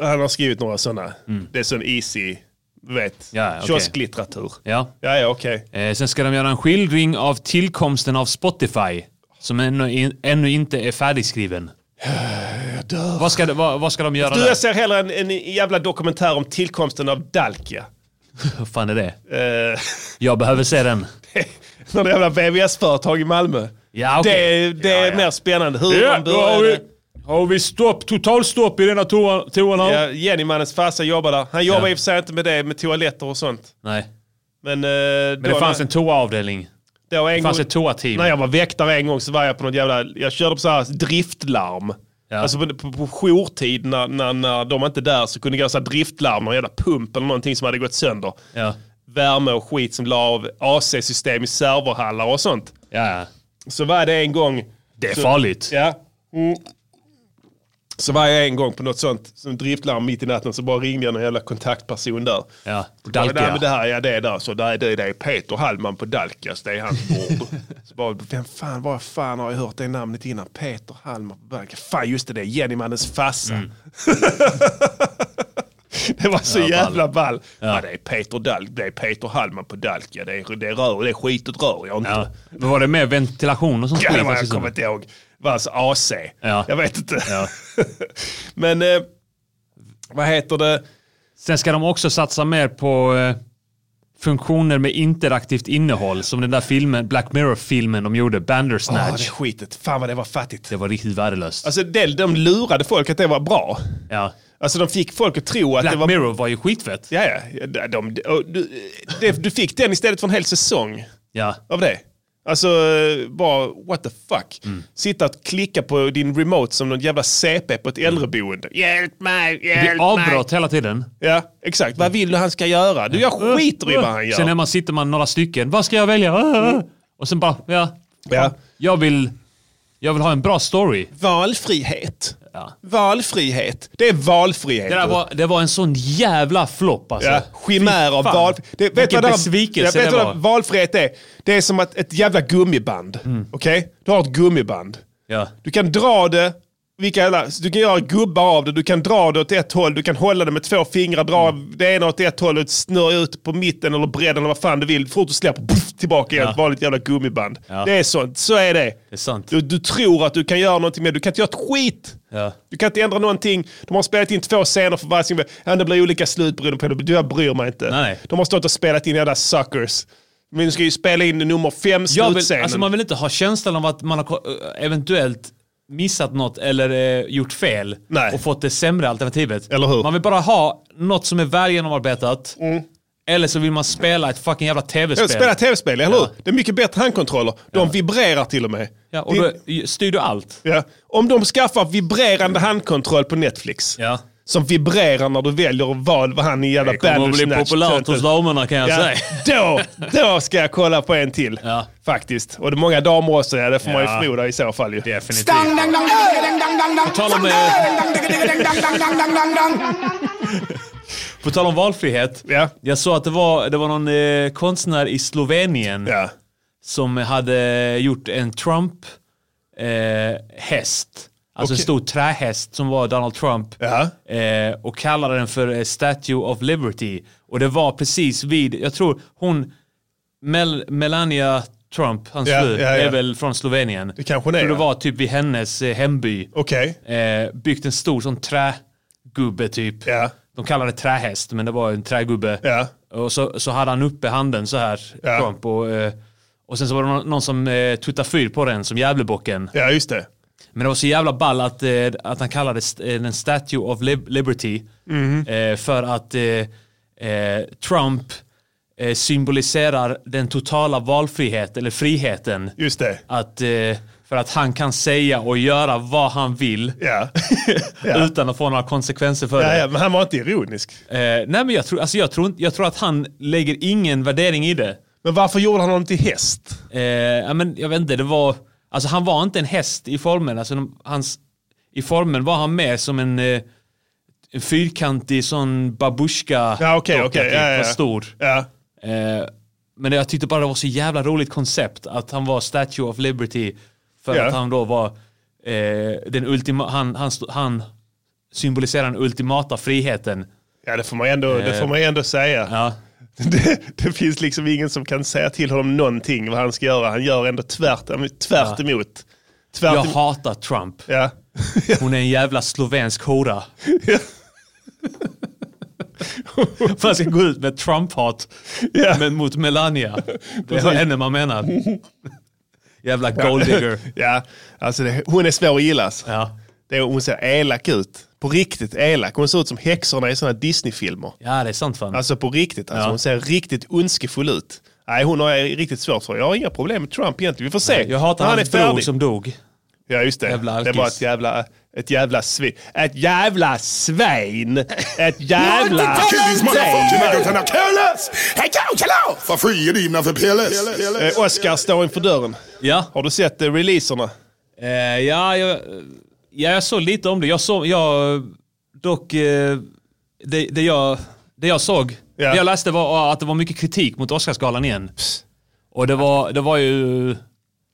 S1: Han har skrivit några sådana. Det är sån easy, du vet,
S4: Mm. Ja, okej.
S1: kiosklitteratur.
S4: ja.
S1: Ja, ja, okej.
S4: Eh, sen ska de göra en skildring av tillkomsten av Spotify. Som ännu, in, ännu inte är färdigskriven. Vad ska, de- vad, vad ska de göra
S1: Du,
S4: där?
S1: jag ser hellre en, en jävla dokumentär om tillkomsten av Dalkia.
S4: Vad fan är det?
S1: Eh,
S4: Jag behöver se den.
S1: Några jävla VVS-företag i Malmö.
S4: Ja, okej.
S1: Det, det är
S4: Ja, ja.
S1: mer spännande. Hur de började.
S4: har vi stopp, totalstopp i denna toan, toan här?
S1: Ja, Jennymannens farsa jobbar där. Han jobbar
S4: Ja.
S1: i och för sig inte med det med toaletter och sånt.
S4: Nej.
S1: Men, eh,
S4: Men det fanns en toaavdelning.
S1: då en
S4: Det fanns
S1: gång-
S4: ett toateam.
S1: När jag var väktare en gång så var jag på något jävla, jag körde på så här driftlarm.
S4: Ja.
S1: Alltså på, på, på jourtid när, när, när de inte är där så kunde jag göra så här driftlarm, någon jävla pump eller någonting som hade gått sönder.
S4: Ja.
S1: Värme och skit som la av AC-system i serverhallar och sånt.
S4: Ja, ja.
S1: Så var det en gång.
S4: Det är
S1: så,
S4: farligt.
S1: Ja. Mm. Så var jag en gång på något sånt som driftlarm mitt i natten så bara ringde jag någon jävla kontaktperson där.
S4: Ja, på
S1: Ja, nej,
S4: Dalkia.
S1: men det här, ja det är där, så där, är det, det är Peter Hallman på Dalkas, det är hans bord. så bara, vem fan, var fan har jag hört det namnet innan? Peter Hallman på Dalkas. Fan just det, det är Jennymannens farsa. det var så jävla ball. Ja. det är Peter Dal, det är Peter Hallman på Dalka, det är, det är rör, det är skitet rör jag inte.
S4: Ja. Men var det med ventilation och sånt
S1: Ja,
S4: skit Alltså,
S1: det var jag
S4: dessutom?
S1: kommer inte ihåg. Det var alltså AC.
S4: Ja.
S1: Jag vet inte.
S4: Ja.
S1: men eh, vad heter det?
S4: Sen ska de också satsa mer på eh, funktioner med interaktivt innehåll. Som den där filmen, Black Mirror-filmen de gjorde,
S1: Åh,
S4: Bandersnatch.
S1: Ah, det skitet. Fan vad det var fattigt.
S4: det var riktigt värdelöst.
S1: Alltså det, de lurade folk att det var bra.
S4: ja.
S1: Alltså de fick folk att tro att
S4: Black
S1: det var...
S4: Mirror var ju skitfett.
S1: Ja, ja. De, de, och du, det, du fick den istället för en hel säsong
S4: Ja.
S1: av det. Alltså eh, bara what the fuck.
S4: Mm.
S1: Sitta och klicka på din remote som någon jävla CP på ett äldreboende. Hjälp mig,
S4: Mm. Det
S1: hjälp
S4: är
S1: mig.
S4: avbrott hela tiden.
S1: Ja, exakt. Vad vill du han ska göra? Du, jag
S4: Mm.
S1: skiter i vad han
S4: Sen när
S1: gör.
S4: man sitter man några stycken. Vad ska jag välja? Ah. Och sen bara, ja.
S1: Ja.
S4: Jag vill, jag vill ha en bra story.
S1: Valfrihet.
S4: Ja.
S1: Valfrihet. Det är valfrihet.
S4: Det, där var, det var en sån jävla flopp alltså.
S1: Ja, chimär av
S4: Fy fan.
S1: val... Det, vet du
S4: Vilken
S1: vad det,
S4: besvikelse
S1: ja, vet
S4: det
S1: du
S4: var. Mm.
S1: vad valfrihet är? Det är som att ett jävla gummiband. Okej? Du har ett gummiband.
S4: Ja.
S1: Du kan dra det, vilka jävla, så du kan göra gubbar av det, du kan dra det åt ett håll, du kan hålla det med två fingrar, dra det ena åt ett håll och snurra ut på mitten eller bredden eller vad fan du vill. Fort du släpper, puff, tillbaka igen.
S4: Ja.
S1: Ett vanligt jävla gummiband.
S4: Ja.
S1: Det är sånt, så är det.
S4: Det är sant.
S1: Du, du tror att du kan göra någonting med det. Du kan inte göra ett skit.
S4: Ja.
S1: Du kan inte ändra någonting. De har spelat in två scener för varje single. Ja, det blir olika slut beroende på det. Jag bryr mig inte.
S4: Nej.
S1: De har stått och spelat in jävla suckers. Men nu ska ju spela in nummer fem,
S4: Jag
S1: slutscenen.
S4: vill, alltså man vill inte ha känslan av att man har ko- eh, eventuellt missat något eller eh, gjort fel
S1: Nej.
S4: och fått det sämre alternativet.
S1: Eller hur? Mm.
S4: Man vill bara ha något som är väl genomarbetat. Eller så vill man spela ett fucking jävla tv-spel.
S1: Spela tv-spel, eller hur? Det är mycket bättre handkontroller. De vibrerar till och med.
S4: ja, och
S1: Det-
S4: då styr du allt.
S1: ja. Om de skaffar vibrerande handkontroll på Netflix.
S4: Ja.
S1: Som vibrerar när du väljer och val vad han i jävla
S4: Det kommer att bli
S1: Bandersnatch
S4: populärt
S1: töntar.
S4: hos damerna kan jag
S1: Ja,
S4: säga.
S1: då, då ska jag kolla på en till.
S4: Ja.
S1: Faktiskt. Och det är många damer också, ja, det får man ju
S4: Ja.
S1: förmoda i så fall. Ju.
S4: Definitivt.
S3: Dang, dang, dang, digga, dang, dang, dang, dang.
S4: På tal om, eh,
S3: Dang, digga, digga, dang, dang, dang, dang, dang, dang, dang.
S4: På tal om valfrihet.
S1: Ja.
S4: Jag såg att det var, det var någon eh, konstnär i Slovenien
S1: Ja.
S4: som hade gjort en Trump-häst. alltså en
S1: Okej.
S4: stor trähäst som var Donald Trump.
S1: Ja.
S4: Eh, och kallade den för eh, Statue of Liberty. Och det var precis vid, jag tror hon, Mel- Melania Trump, hans
S1: Ja,
S4: fru,
S1: ja, ja.
S4: är väl från Slovenien. Det
S1: kanske hon är,
S4: Jag tror
S1: ja.
S4: det var typ vid hennes eh, hemby.
S1: Okej.
S4: Eh, byggt en stor sån trägubbe typ.
S1: Ja.
S4: De kallade det trähäst, men det var en trägubbe.
S1: Ja.
S4: Och så, så hade han uppe handen så här,
S1: Ja.
S4: Trump. Och, eh, och sen så var det någon, någon som eh, tuttade fyr på den, som Gävlebocken.
S1: Ja, just det.
S4: Men det var så jävla ball att, eh,
S1: Mhm.
S4: att han kallade st- eh, den Statue of Lib- Liberty eh, för att eh, eh, Trump eh, symboliserar den totala valfrihet eller friheten.
S1: Just det.
S4: Att, eh, för att han kan säga och göra vad han vill
S1: Ja. ja.
S4: utan att få några konsekvenser för
S1: ja,
S4: det.
S1: ja, men han var inte ironisk.
S4: Eh, nej men jag tror, alltså jag, tror, inte- jag tror att han lägger ingen värdering i det.
S1: Men varför gjorde han honom till häst?
S4: Eh, ja, men jag vet inte, det var, alltså han var inte en häst i formen. Alltså de, hans, I formen var han mer som en, eh, en fyrkantig sån babushka typ,
S1: Ja, okej, okej. Ja, ja, ja.
S4: stor.
S1: Ja.
S4: Eh, men jag tyckte bara det var så jävla roligt koncept att han var Statue of Liberty för
S1: Ja.
S4: att han då var eh, den ultima, han, han, stod- han symboliserar den ultimata friheten.
S1: Ja, det får man ändå, det får man ändå säga.
S4: Eh. Ja.
S1: Det, det finns liksom ingen som kan säga till honom någonting vad han ska göra. Han gör ändå tvärt, tvärt emot. Tvärt
S4: Jag
S1: emot.
S4: hatar Trump.
S1: Ja.
S4: Hon är en jävla slovensk hora. För jag ska gå ut med Trump-hat
S1: Ja.
S4: men mot Melania. Det är henne man menar. Jävla golddigger.
S1: ja, alltså det, hon är svår att gilla. alltså.
S4: Ja.
S1: Det är- Hon ser elak ut. På riktigt elak. Hon ser ut som häxorna i sådana Disney-filmer.
S4: ja, det är sant fan.
S1: Alltså på riktigt. Alltså
S4: Ja.
S1: Hon ser riktigt ondskefull ut. Nej, hon har jag riktigt svårt för. Jag har inga problem med Trump egentligen. Vi får se.
S4: jag hatar
S1: När
S4: hans bror som dog.
S1: Ja, just det.
S4: Jävla
S1: det
S4: alkis.
S1: var ett jävla, ett jävla svin. Ett jävla svin! Ett jävla svin!
S7: För free är divna för PLS.
S1: Eh, Oscar står inför dörren.
S4: Ja,
S1: Har du sett eh, releaserna?
S4: eh, ja, jag, ja jag såg lite om det. Jag såg, jag, dock, eh, det, det, jag, det jag såg,
S1: Ja.
S4: det jag läste var att det var mycket kritik mot Oscarsgalan igen. Och det var, det var ju,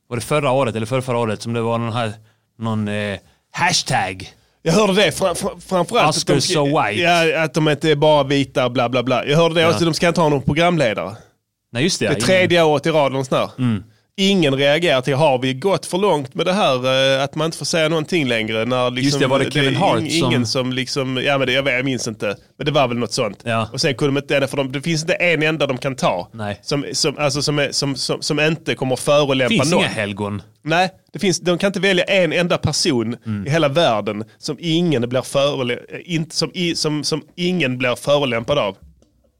S4: var det förra året eller förra, förra året som det var någon, här, någon eh, hashtag.
S1: Jag hörde det fra- fra- framförallt.
S4: Oscar so white.
S1: Ja, att de inte är bara vita, bla bla bla. Jag hörde det också, de ska inte ha någon programledare.
S4: Nej Mm. just det.
S1: Det
S4: ja,
S1: är tredje året i rad någon sån här. Ingen reagerar till, har vi gått för långt med det här eh, att man inte får säga någonting längre? När liksom,
S4: Just det, var det Kevin
S1: är
S4: Hart
S1: ing-
S4: som-
S1: Ingen som liksom, ja men det, jag, vet, jag minns inte, men det var väl något sånt.
S4: Ja.
S1: Och sen kunde de inte, för de, det finns inte en enda de kan ta.
S4: Nej.
S1: Som, som, alltså, som, är- som, som, som inte kommer att förolämpa
S4: finns
S1: någon.
S4: inga helgon.
S1: Nej, det finns, de kan inte välja en enda person
S4: Mm.
S1: i hela världen som ingen blir, förolä- inte, som, i- som, som ingen blir förolämpad av.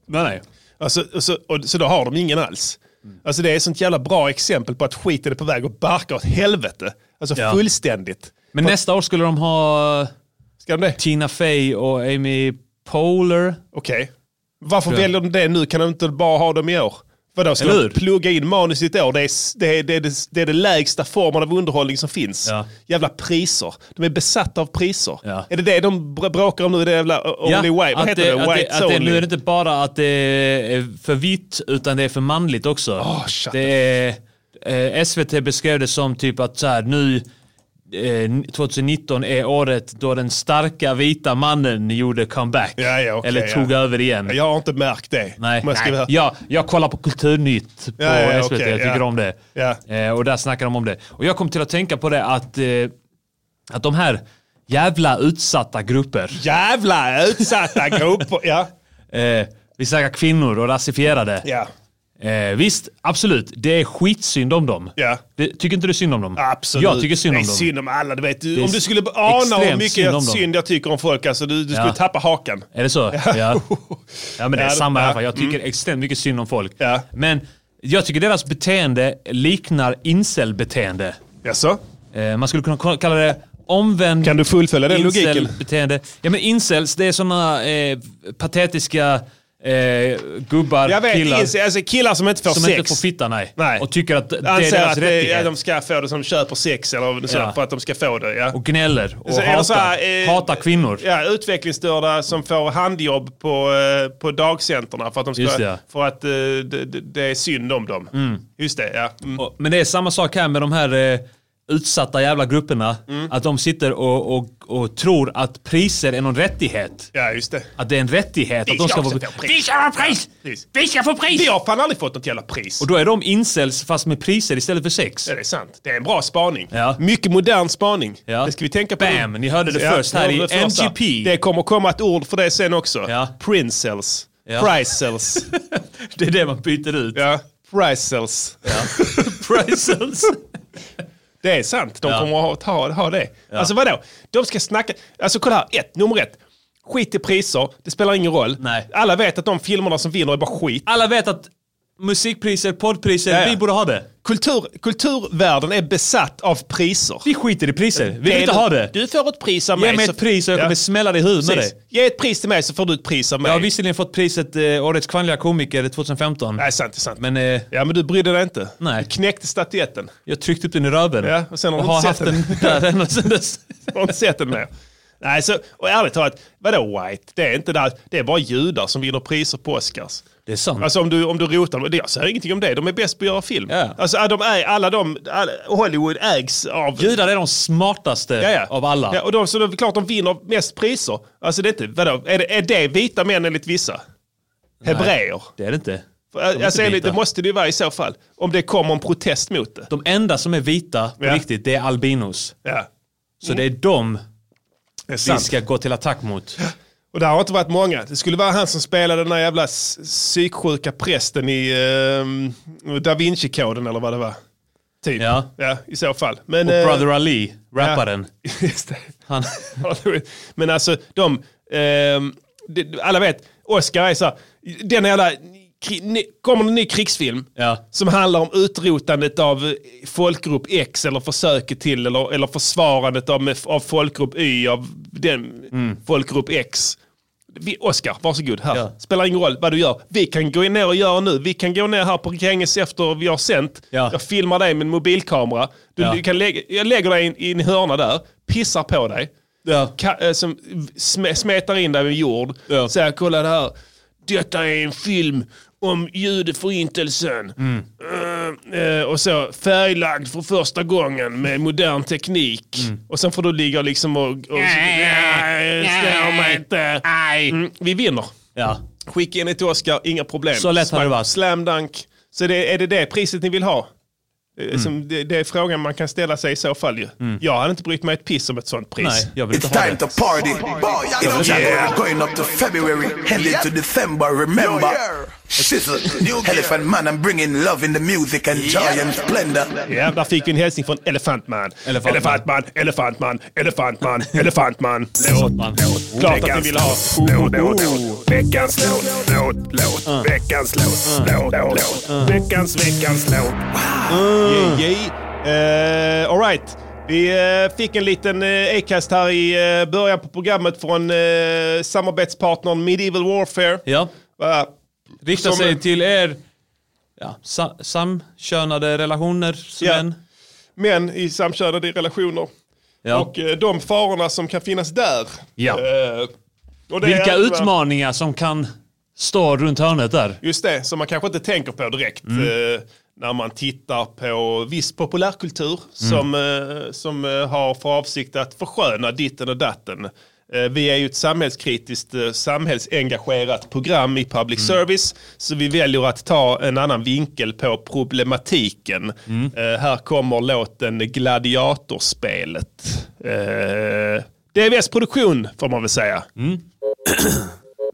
S4: Nej, nej.
S1: Alltså, och så, och, så då har de ingen alls.
S4: Mm.
S1: Alltså det är ett sånt jävla bra exempel på att skiten är på väg att barka åt helvete. Alltså
S4: Ja.
S1: fullständigt.
S4: Men nästa år skulle de ha
S1: Ska de det?
S4: Tina Fey och Amy Poehler.
S1: Okej. Varför
S4: Tror jag.
S1: väljer de det nu? Kan de inte bara ha dem i år? Vadå, ska
S4: Eller
S1: de
S4: hur?
S1: plugga in manus i ett år? Det är, s- det, är, det, är, det, det är det lägsta formen av underhållning som finns.
S4: Ja.
S1: Jävla priser. De är besatta av priser.
S4: Ja.
S1: Är det det de br- bråkar om nu? Det är jävla o- only way? Vad
S4: att
S1: heter
S4: det-
S1: det?
S4: att
S1: White
S4: att det,
S1: only?
S4: Nu är det inte bara att det är för vitt, utan det är för manligt också.
S1: Oh, shut
S4: det är, eh, SVT beskrev det som typ att så här, nu eh, 2019 är året då den starka vita mannen gjorde comeback.
S1: Ja, ja, okej,
S4: eller tog
S1: ja.
S4: över igen.
S1: Jag har inte märkt det.
S4: Nej,
S1: Men jag ska
S4: nej.
S1: vara-
S4: Ja, jag kollar på Kulturnytt på
S1: Ja, ja,
S4: SVT,
S1: okej,
S4: jag tycker
S1: ja.
S4: om det.
S1: Ja.
S4: Eh, och där snackar de om det. Och jag kom till att tänka på det att, eh, att de här jävla utsatta grupper,
S1: Jävla utsatta grupper. Ja.
S4: eh, vi snackar kvinnor och rasifierade.
S1: ja,
S4: Eh, visst, absolut, det är skitsynd om dem.
S1: Ja.
S4: Det, tycker inte du synd om dem?
S1: absolut.
S4: Jag tycker synd
S1: det
S4: om
S1: är
S4: dem.
S1: synd om alla. Du vet, du,
S4: är
S1: om du
S4: s-
S1: skulle ana hur
S4: extremt
S1: mycket
S4: synd om
S1: synd,
S4: dem.
S1: jag tycker om folk, alltså, du, du skulle
S4: Ja.
S1: tappa hakan.
S4: Är det så? Ja. ja. men det är
S1: Ja,
S4: samma i
S1: ja, Mm.
S4: alla fall. Jag tycker extremt mycket synd om folk.
S1: Ja.
S4: Men jag tycker deras beteende liknar incel-beteende.
S1: Jaså?
S4: Eh, man skulle kunna ko- kalla det omvänd
S1: Kan du fullfölja den logiken?
S4: incel-beteende. Ja men incels, det är såna eh, patetiska eh, gubbar,
S1: Jag vet,
S4: killar.
S1: killar, alltså, killar som inte får
S4: som
S1: sex.
S4: inte får fitta, nej.
S1: Nej.
S4: Och tycker att det är
S1: Anser
S4: deras
S1: att det, ja,
S4: rättighet.
S1: de ska få det som köper sex eller så,
S4: Ja.
S1: för att de ska få det. Ja.
S4: Och gnäller och
S1: Så är det
S4: hatar,
S1: så här, eh,
S4: hatar kvinnor.
S1: Ja, utvecklingsstörda som får handjobb på, eh, på dagcenterna för att, de ska,
S4: Just det, ja.
S1: för att eh, det, det, det är synd om dem. Just det, ja. Mm.
S4: Och- Men det är samma sak här med de här eh, utsatta jävla grupperna.
S1: Mm.
S4: Att de sitter och, och, och tror att priser är någon rättighet.
S1: Ja, just det.
S4: Att det är en rättighet. Att de ska
S1: klart
S4: få...
S1: att jag får pris.
S4: Vi ska få pris!
S1: Precis.
S4: Vi ska få pris!
S1: Vi har fan aldrig fått något jävla pris.
S4: Och då är de incels fast med priser istället för sex.
S1: Ja, det är sant. Det är en bra spaning.
S4: Ja.
S1: Mycket modern spaning.
S4: Ja.
S1: Det ska vi tänka på.
S4: Bam! Ni hörde det först
S1: ni
S4: här
S1: hörde
S4: i
S1: det första.
S4: MGP.
S1: Det kommer komma ett ord för det sen också.
S4: Ja.
S1: Princels.
S4: Ja.
S1: Pricels.
S4: Det är det man byter ut.
S1: ja. Pricels.
S4: Prices.
S1: Det är sant. De
S4: Ja.
S1: kommer att ha, ha, ha det. Alltså vadå? De ska snacka... Alltså kolla här. Ett, nummer ett. Skit i priser, det spelar ingen roll.
S4: Nej.
S1: Alla vet att de filmerna som vinner är bara skit.
S4: Alla vet att musikpriser, poddpriser,
S1: Ja, ja.
S4: vi borde ha det.
S1: Kultur, kulturvärlden är besatt av priser.
S4: Vi skiter i priser. Vi vill inte ha det.
S1: Du får ett pris av mig.
S4: Ge mig
S1: så-
S4: ett pris och jag
S1: Ja,
S4: kommer smälla dig i huvudet med
S1: precis.
S4: det.
S1: Ge ett pris till mig så får du ett pris av mig.
S4: Jag har visserligen fått priset eh, Årets kvinnliga komiker 2015.
S1: Nej, sant, det är sant.
S4: Men eh,
S1: ja, men du brydde dig inte.
S4: Nej.
S1: Du knäckte statyetten.
S4: jag tryckte upp den i röven.
S1: Ja, och sen har du
S4: har
S1: inte
S4: haft
S1: sett
S4: den där ända sedan dess.
S1: Jag har inte sett den mer. Nej, så, och ärligt talat, vadå white? Det är inte där, det är bara judar som vinner priser på Oscars.
S4: Det är sant.
S1: Alltså om du, om du rotar dem, jag säger ingenting om det, de är bäst på att göra film.
S4: Ja.
S1: Alltså är de är, alla de, alla, Hollywood ägs av...
S4: Judar är de smartaste
S1: Ja, ja.
S4: av alla.
S1: Ja, och de, så det är klart de vinner mest priser. Alltså det är inte, vadå, är det, är det vita män enligt vissa? Hebreer?
S4: Det är det inte.
S1: För,
S4: De är
S1: Alltså,
S4: inte
S1: enligt, det
S4: vita.
S1: måste det ju vara i så fall. Om det kommer en protest mot det.
S4: De enda som är vita på
S1: Ja.
S4: riktigt, det är albinos.
S1: Ja,
S4: Så det är de
S1: det
S4: vi
S1: är sant.
S4: ska gå till attack mot.
S1: Och det har inte varit många. Det skulle vara han som spelade den där jävla s- psyksjuka prästen i ehm, Da Vinci-koden eller vad det var. Typ.
S4: Ja.
S1: i så fall. Men,
S4: Och
S1: eh,
S4: Brother Ali, rapparen.
S1: Just det.
S4: Han,
S1: Men alltså, de, ehm, det- alla vet, Oscar är så här, den jävla, kri- ny- kommer en ny krigsfilm
S4: Ja.
S1: som handlar om utrotandet av eh, folkgrupp X eller försöket till eller, eller försvarandet av, av folkgrupp Y av den folkgrupp X. Vi, Oscar, varsågod här.
S4: Mm. Ja.
S1: Spelar ingen roll vad du gör. Vi kan gå ner och göra nu. Vi kan gå ner här på Gränges efter vi har sänt.
S4: Ja.
S1: Jag filmar dig med en mobilkamera. Du,
S4: Ja.
S1: du kan lägga, jag lägger dig i en- i en hörna där, pissar på dig,
S4: ja.
S1: ka, eh, som sme, smetar in dig med jord.
S4: Ja.
S1: Säger kolla det här. Detta är en film om judeförintelsen. Eh, eh, och så färglagd för första gången med modern teknik. Och sen får du ligga liksom och... och nej, stör mig inte. Mm, vi vinner.
S4: ja.
S1: Skicka in det till Oscar, inga problem.
S4: Så lätt har det varit.
S1: Slam dunk. Så det, är det det priset ni vill ha? Eh,
S4: Mm.
S1: Som det, det är frågan man kan ställa sig i så fall ju. Jag hade inte brytt mig ett piss om ett sånt pris.
S4: Nej, jag vill
S5: It's
S4: inte ha
S5: time to
S4: det.
S5: party. In January, going up to February, hell into December. Remember, shizzle, elephant man, I'm bringing love in the music and joy and splendor.
S1: Ja, där fick vi en hälsning från Elefantman.
S4: Elefantman.
S1: Elefantman, Elefantman, Elefantman, Elefantman.
S4: Man.
S1: Klart att ni vill ha. Oh,
S8: Låt, låt, låt. Veckans låt, låt, låt.
S1: Ah.
S8: Veckans låt, låt, låt. Veckans, veckans låt.
S1: Yeah, yeah. Eh, all right. Vi eh, fick en liten uh, Acast här i eh, början på programmet från uh, samarbetspartnern Medieval Warfare.
S4: Ja.
S1: Va?
S4: Rikta
S1: Som-
S4: sig till er ja, sa, samkönade relationer, Sven.
S1: män i samkönade relationer.
S4: Ja.
S1: Och eh, de farorna som kan finnas där.
S4: Ja.
S1: Eh, och det
S4: Vilka
S1: är-
S4: utmaningar som kan stå runt hörnet där.
S1: Just det, som man kanske inte tänker på direkt. Eh, när man tittar på viss populärkultur som, eh, som eh, har för avsikt att försköna ditten och datten. Eh, vi är ju ett samhällskritiskt, eh, samhällsengagerat program i public service. Så vi väljer att ta en annan vinkel på problematiken. Eh, här kommer låten Gladiatorspelet. Eh, DVS produktion får man väl säga.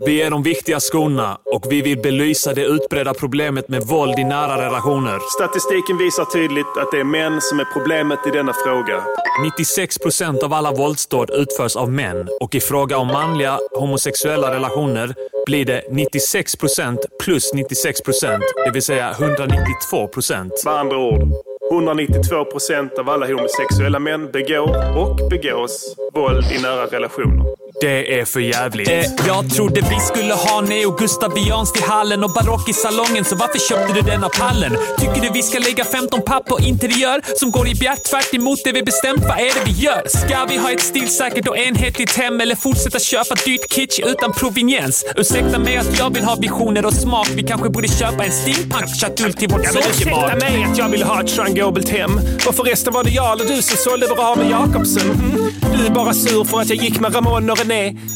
S9: Vi är de viktiga skorna och vi vill belysa det utbredda problemet med våld i nära relationer.
S1: Statistiken visar tydligt att det är män som är problemet i denna fråga.
S9: 96 procent av alla våldsdåd utförs av män och i fråga om manliga homosexuella relationer blir det 96 procent plus 96 procent, det vill säga 192 procent.
S1: Med andra ord, 192 procent av alla homosexuella män begår och begås våld i nära relationer.
S9: Det är för jävligt.
S10: Eh, jag trodde vi skulle ha neo gustavians till hallen och barock i salongen, så varför köpte du denna pallen? Tycker du vi ska lägga 15 papp på interiör som går i bjärt tvärt emot det vi bestämt? Vad är det vi gör? Ska vi ha ett stilsäkert och enhetligt hem eller fortsätta köpa dyrt kitsch utan proveniens? Ursäkta mig att jag vill ha visioner och smak. Vi kanske borde köpa en steampunk-chatull till vårt
S8: Ursäkta
S10: sovkebab.
S8: mig att jag vill ha ett Jean Gobelt hem. Och förresten var det jag eller du som sålde vår Arne Jakobsen. Mm. Du är bara sur för att jag gick med Ramon och René.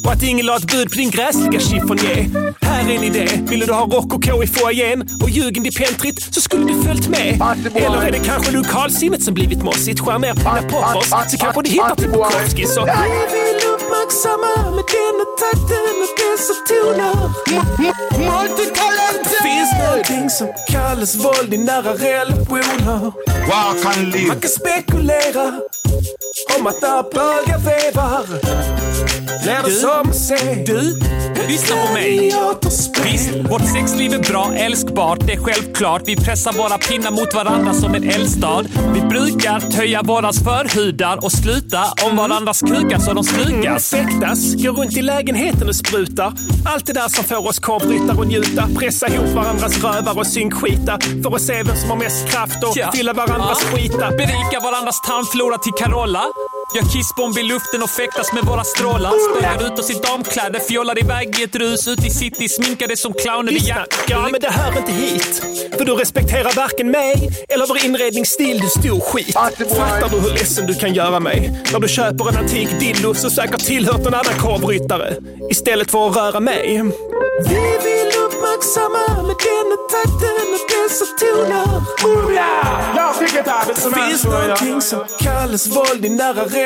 S8: Och att ingen la ett bud på din gräsliga chiffonier. Här är en idé. Vill du ha rokoko i foajén och jugend i pentrit så skulle du följt med. Eller är det kanske lokalsinnet som blivit mossigt? Skär ner på dina poppers så kanske du hittar till Bukowski. Så vi vill uppmärksamma med denna takten och dessa toner.
S3: Multitalenter!
S8: Finns någonting som kallas våld i nära relationer?
S5: Walk and live.
S8: Man kan spekulera om att när bögar vevar Blir det
S10: Du?
S8: som sig.
S10: Du, lyssna på mig. Visst, vårt sexliv är bra, älskbart, det är självklart. Vi pressar våra pinnar mot varandra som en eldstad. Vi brukar töja våras förhudar och sluta om varandras kukar så de
S8: Mm,
S10: slukas.
S8: fäktas, går runt i lägenheten och sprutar. Allt det där som får oss korvryttare att njuta. Pressa ihop varandras rövar och synkskita. För att se vem som har mest kraft och
S10: Ja.
S8: fylla varandras
S10: Ja.
S8: skita.
S10: Berika varandras tarmflora till Carola. Gör kissbomb i luften och fäktas med våra strålar. Spöar ut oss i damkläder, fjollar iväg i ett rus. Ut i city, sminkade som clowner vid
S8: Lyssna, ja men det hör inte hit. För du respekterar varken mig eller vår inredningsstil, du stor skit. Fattar du hur ledsen du kan göra mig? När du köper en antik dildo som säkert tillhört en annan korvryttare. Istället för att röra mig. Vi vill uppmärksamma med denna takten och dessa toner. Oh ja!
S6: Jag fick ett arbete som
S8: Finns någonting som kallas våld i nära relationer? Det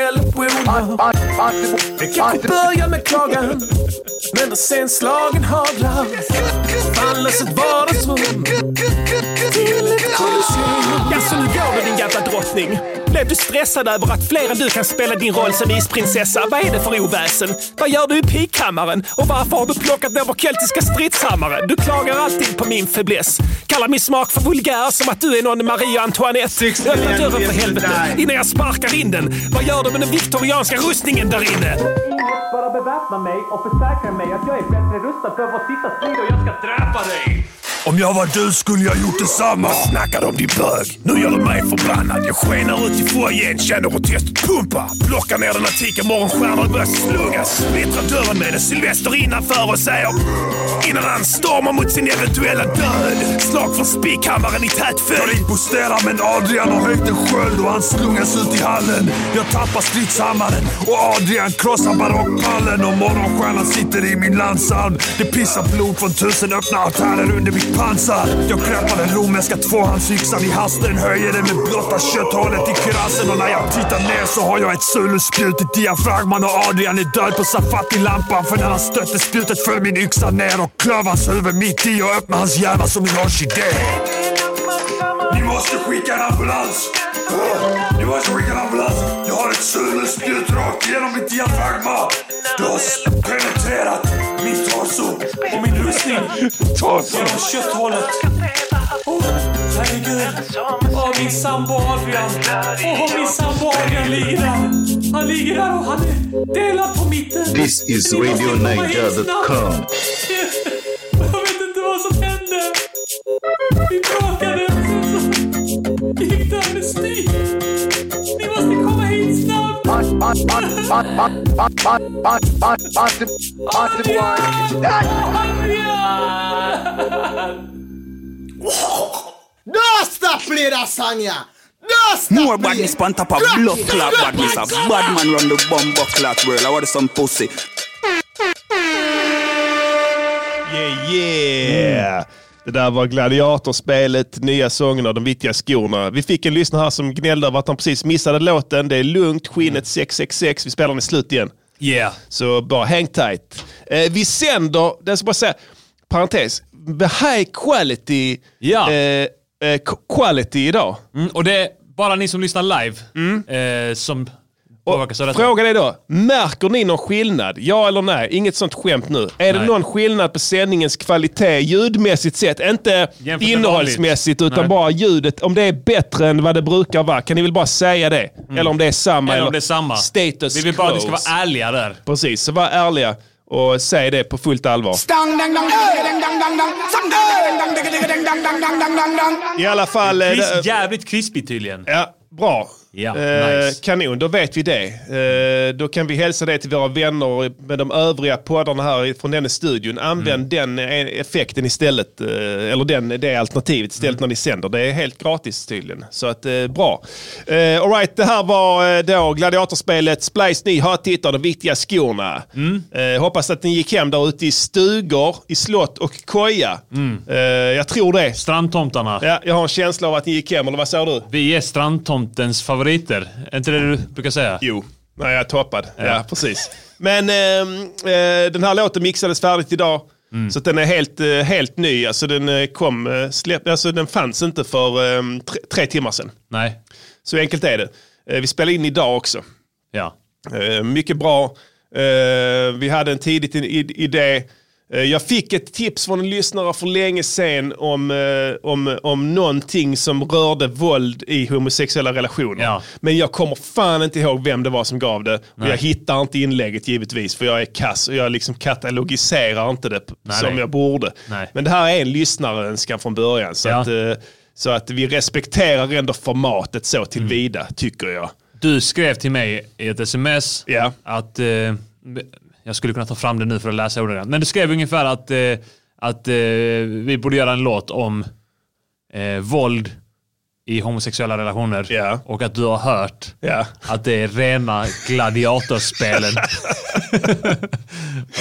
S8: kanske börjar med klagan, men sen slagen haglar. Förvandlas ett vardagsrum till ett kolosseum. Jaså, nu går du din jävla drottning? Blev du stressad över att fler än du kan spela din roll som isprinsessa? Vad är det för oväsen? Vad gör du i pikhammaren? Och varför har du plockat ner vår keltiska stridshammare? Du klagar alltid på min fäbless. Kallar min smak för vulgär som att du är någon Marie Antoinette. Öppna dörren för helvete innan jag sparkar in den. Vad gör du med den viktorianska rustningen där inne?
S10: Bara beväpna mig och försäkra mig att jag är bättre rustad för vår sista strid och jag ska dräpa dig.
S5: Om jag var du skulle jag gjort detsamma. Snackar om din bög. Nu gör du mig förbannad. Jag skenar ut i foajén, känner hur testet pumpar. Plockar ner den antika morgonstjärnan och börjar slunga. Splittrar dörren med en Sylvester innanför och säger... Innan han stormar mot sin eventuella död. Slag från spikhammaren i tät följd. Jag riposterar men Adrian har höjt en sköld och han slungas ut i hallen. Jag tappar stridshammaren och Adrian krossar barockpallen och morgonstjärnan sitter i min landsarm. Det pissar blod från tusen öppna artärer under mitt pansar. Jag greppar den romerska tvåhandsyxan i hasten, höjer den med blotta kötthålet i kirassen och när jag tittar ner så har jag ett suluspjut i diafragman och Adrian är död på Safati-lampan för när han stötte spjutet föll min yxa ner och klöv hans huvud mitt i och öppnade hans hjärna som en orkidé. Ni måste skicka en ambulans! Ni måste skicka en ambulans! Jag har ett suluspjut rakt igenom mitt diafragma! Du har s- penetrerat min torso och min rustning genom kötthålet!
S10: Åh, Oh, herregud. Åh, min sambo Adrian. Åh, min sambo Adrian ligger där. Han ligger där och han är delad på mitten.
S11: This is
S10: Ni måste komma hit
S11: radionaja.com.
S10: snabbt. Jag vet inte vad som hände. Vi bråkade och sen så gick det amnesti. Ni måste komma hit snabbt.
S12: Dosta flera sanja! Dosta
S13: More badness on top of blood clot badness. A bad man run the bomb clot world. I want some pussy.
S1: Yeah, yeah. Det där var Gladiatorspelet, nya sången och de vittiga skorna. Vi fick en lyssnare här som gnällde över att han precis missade låten. Det är lugnt, skinnet 666. Vi spelar den i slut igen.
S4: Yeah.
S1: Så bara hang tight. Eh, vi sänder, det ska bara säga, parentes, the high quality, eh, eh, k- quality idag.
S4: Mm, och det är bara ni som lyssnar live eh, som påverkas av detta.
S1: Mm. Frågan är då, märker ni någon skillnad? Ja eller nej? Inget sånt skämt nu. Är det
S4: Nej.
S1: någon skillnad på sändningens kvalitet ljudmässigt sett? Inte
S4: Jämfört med
S1: innehållsmässigt
S4: vanligt.
S1: utan
S4: Nej.
S1: bara ljudet. Om det är bättre än vad det brukar vara, kan ni väl bara säga det? Eller om det är samma.
S4: Mm. Eller om det är samma.
S1: Status
S4: Vi vill bara att ni ska
S1: quos.
S4: vara ärliga där.
S1: Precis, så var ärliga och säg det på fullt allvar.
S3: Dang dang dang dang dang dang dang. Dang dang dang dang dang dang dang dang dang dang.
S1: I alla fall... eh,
S4: Kris,
S1: det-
S4: jävligt krispigt tydligen.
S1: Ja, bra.
S4: Ja,
S1: Eh,
S4: nice.
S1: Kanon, då vet vi det. Eh, då kan vi hälsa det till våra vänner med de övriga poddarna här från den studion. Använd
S4: Mm.
S1: den eh, effekten istället, eh, eller den, det alternativet istället
S4: Mm.
S1: när ni sänder. Det är helt gratis tydligen. Så att, eh, bra. Eh, all right, det här var eh, då gladiatorspelet Splice Ny Hattitt och de viktiga skorna.
S4: Mm.
S1: Eh, hoppas att ni gick hem där ute i stugor, i slott och koja.
S4: Mm.
S1: Eh, jag tror det.
S4: Strandtomtarna.
S1: Ja, jag har en känsla av att ni gick hem, eller vad säger du?
S4: Vi är strandtomtens favoriter. Är inte det du brukar säga?
S1: Jo. Nej, jag är toppad. Ja, precis. Men ehm, eh, den här låten mixades färdigt idag. Så att den är helt, eh, helt ny. Alltså den, eh, kom, eh, släpp, alltså den fanns inte för ehm, tre, tre timmar sedan.
S4: Nej.
S1: Så enkelt är det. Eh, vi spelar in idag också.
S4: Ja.
S1: Eh, mycket bra. Eh, vi hade en tidigt i- i- idé. Eh, jag fick ett tips från en lyssnare för länge sedan om, eh, om, om någonting som rörde våld i homosexuella relationer. Men jag kommer fan inte ihåg vem det var som gav det. Och
S11: Nej.
S1: jag hittar inte inlägget givetvis för jag är kass och jag liksom katalogiserar inte det p-
S11: Nej.
S1: som jag borde.
S11: Nej.
S1: Men det här är en lyssnarönskan från början. Så, att, eh, så att vi respekterar ändå formatet så
S11: Mm.
S1: tillvida, tycker jag.
S4: Du skrev till mig i ett sms att, eh, jag skulle kunna ta fram det nu för att läsa ordagrant, men du skrev ungefär att, eh, att eh, vi borde göra en låt om eh, våld i homosexuella relationer och att du har hört
S1: Ja.
S4: att det är rena gladiatorspelen.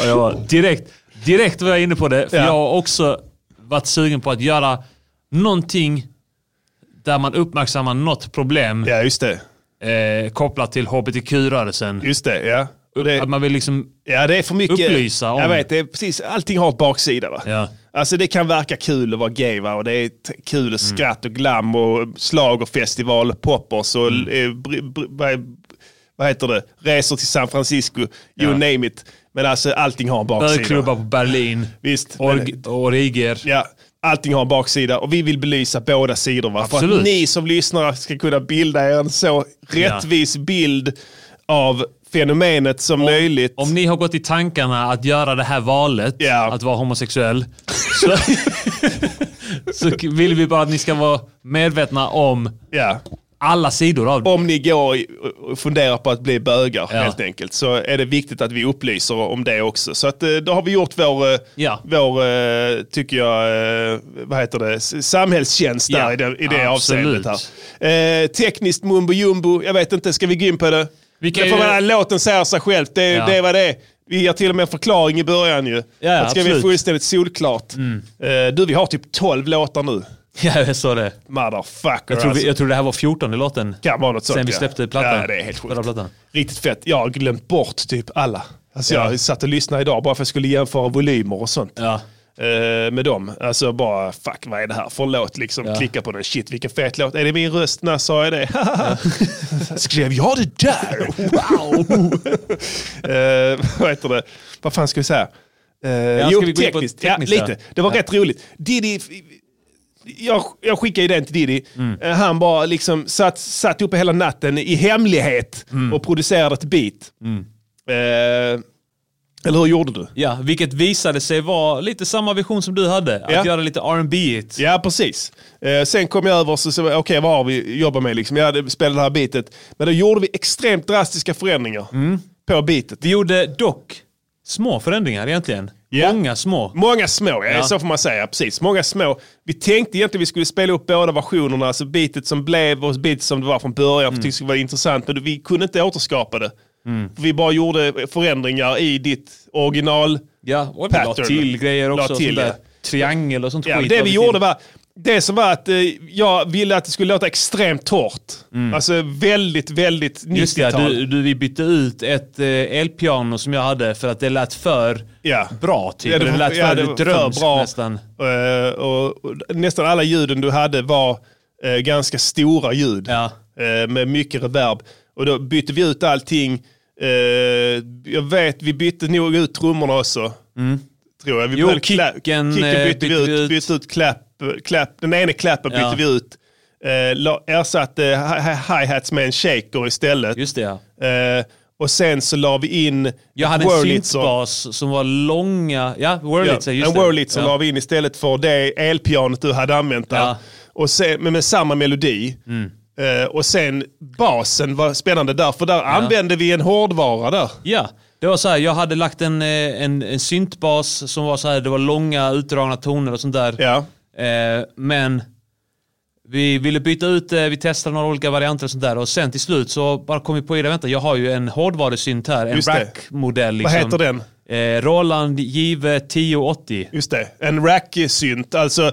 S4: och jag var direkt, direkt var jag inne på det, för
S1: Ja.
S4: jag har också varit sugen på att göra någonting där man uppmärksammar något problem
S1: ja, just
S4: det. Eh, kopplat till hbtq-rörelsen.
S1: Just det, ja.
S4: att man vill liksom
S1: ja, det är för mycket,
S4: upplysa om...
S1: Jag vet, det är precis, allting har ett baksida. Va? Alltså det kan verka kul att vara gay va? och det är t- kul och skratt och glam och slag och festival, poppers och
S4: Mm.
S1: eh, br- br- vad- vad heter det, resor till San Francisco, you
S4: Ja.
S1: name it. Men alltså allting har en baksida.
S4: Bögklubbar på Berlin.
S1: Visst.
S4: Org- Origer.
S1: Ja, allting har en baksida och vi vill belysa båda sidor. Va? För
S4: Absolut.
S1: att ni som lyssnare ska kunna bilda er en så rättvis bild av fenomenet som möjligt.
S4: Om ni har gått i tankarna att göra det här valet, att vara homosexuell, så, så k- vill vi bara att ni ska vara medvetna om alla sidor av det.
S1: Om ni går i- och funderar på att bli bögar helt enkelt så är det viktigt att vi upplyser om det också. Så att, eh, då har vi gjort vår, eh, vår eh, tycker jag, eh, vad heter det, S- samhällstjänst där
S4: Ja,
S1: i det, i det
S4: absolut.
S1: avseendet. Här. Eh, tekniskt mumbo jumbo, jag vet inte, ska vi gå in på det?
S4: Vi kan
S1: det får
S4: ju-
S1: man, låten säger sig själv, det,
S4: Ja.
S1: det var det. är. Vi ger till och med en förklaring i början ju.
S4: Ja,
S1: det ska bli
S4: absolut. Mm.
S1: fullständigt solklart. Eh, du, vi har typ 12 låtar nu.
S4: Ja, jag såg det.
S1: Motherfucker
S4: Jag tror, vi,
S1: alltså.
S4: jag tror det här var 14 låten.
S1: Kan vara något
S4: Sen
S1: sånt,
S4: vi
S1: ja.
S4: släppte plattan.
S1: Ja, det är helt sjukt.
S4: Förra plattan.
S1: Riktigt fett. Jag har glömt bort typ alla. Alltså
S4: Ja.
S1: Jag satt och lyssnade idag bara för att jag skulle jämföra volymer och sånt. Eh, med dem. Alltså bara, fuck vad är det här för låt? Liksom klicka på den, shit vilken fet låt. Är det min röst? När sa jag det? Skrev jag det där? Wow! Eh, vad heter det? Vad fan ska vi säga? Eh,
S11: ska
S1: jo,
S11: vi gå in på
S1: tekniskt. Ja,
S11: tekniskt, ja.
S1: lite. Det var
S11: Ja.
S1: rätt roligt. Diddy, jag, jag skickade ju den till Diddy.
S11: Mm.
S1: Eh, Han bara liksom satt, satt uppe hela natten i hemlighet
S11: Mm.
S1: och producerade ett beat. Eh, eller hur gjorde du?
S4: Ja, vilket visade sig vara lite samma vision som du hade. Att
S1: Ja.
S4: göra lite rb it
S1: Ja, precis. Eh, sen kom jag över och så, så okej, vad har vi jobbat med liksom? Jag hade spelat det här beatet. Men då gjorde vi extremt drastiska förändringar på beatet.
S4: Vi gjorde dock små förändringar egentligen. Många små.
S1: Många små, ja,
S4: Ja.
S1: så får man säga. Precis, många små. Vi tänkte egentligen vi skulle spela upp båda versionerna, alltså beatet som blev och beatet som det var från början, för vi tyckte det skulle vara intressant, men vi kunde inte återskapa det. För Vi bara gjorde förändringar i ditt original
S4: Ja, och vi la till grejer också, sån där
S1: Triangel och sånt ja,
S4: skit
S1: Det
S4: la
S1: vi
S4: vi
S1: gjorde
S4: till.
S1: var, det som var att eh, jag ville att det skulle låta extremt torrt. Alltså väldigt, väldigt 90-tal.
S4: Mm. Just det, du, du, vi bytte ut ett eh, elpiano som jag hade för att det lät för bra. Typ.
S1: Ja,
S4: det,
S1: var-
S4: lät
S1: ja,
S4: för
S1: det var
S4: drömskt nästan.
S1: Eh, och, och nästan alla ljuden du hade var eh, ganska stora ljud eh, med mycket reverb. Och då bytte vi ut allting. Eh, jag vet, vi bytte nog ut trummorna också. Tror jag. Vi
S4: Mm. Jo,
S1: började klä-
S4: kicken,
S1: kicken
S4: eh,
S1: bytte vi ut. Bytte ut klapp, klapp, den ene klappen
S4: Ja.
S1: bytte vi ut. Eh, la- ersatte hi- hi- hi-hats med en shaker istället.
S4: Just det,
S1: Eh, och sen så la vi in
S4: Jag hade en
S1: Wurlitzer.
S4: synthbas som var långa. Ja, Wurlitzer.
S1: Ja,
S4: just
S1: en
S4: det.
S1: Wurlitzer
S4: ja.
S1: la vi in istället för det elpianot du hade använt där. Och sen, men med samma melodi.
S4: Mm.
S1: Eh, och sen basen var spännande där, för där använde vi en hårdvara där.
S4: Ja, det var så här, jag hade lagt en, eh, en, en syntbas som var så här, det var långa utdragna toner och sånt där. Eh, men vi ville byta ut det, vi testade några olika varianter och sånt där. Och sen till slut så bara kom vi på, det, vänta, jag har ju en hårdvarusynt här, en
S1: Just det.
S4: rack-modell. Liksom.
S1: Vad heter den?
S4: Eh, Roland Give 1080.
S1: Just det, en rack-synt. Alltså,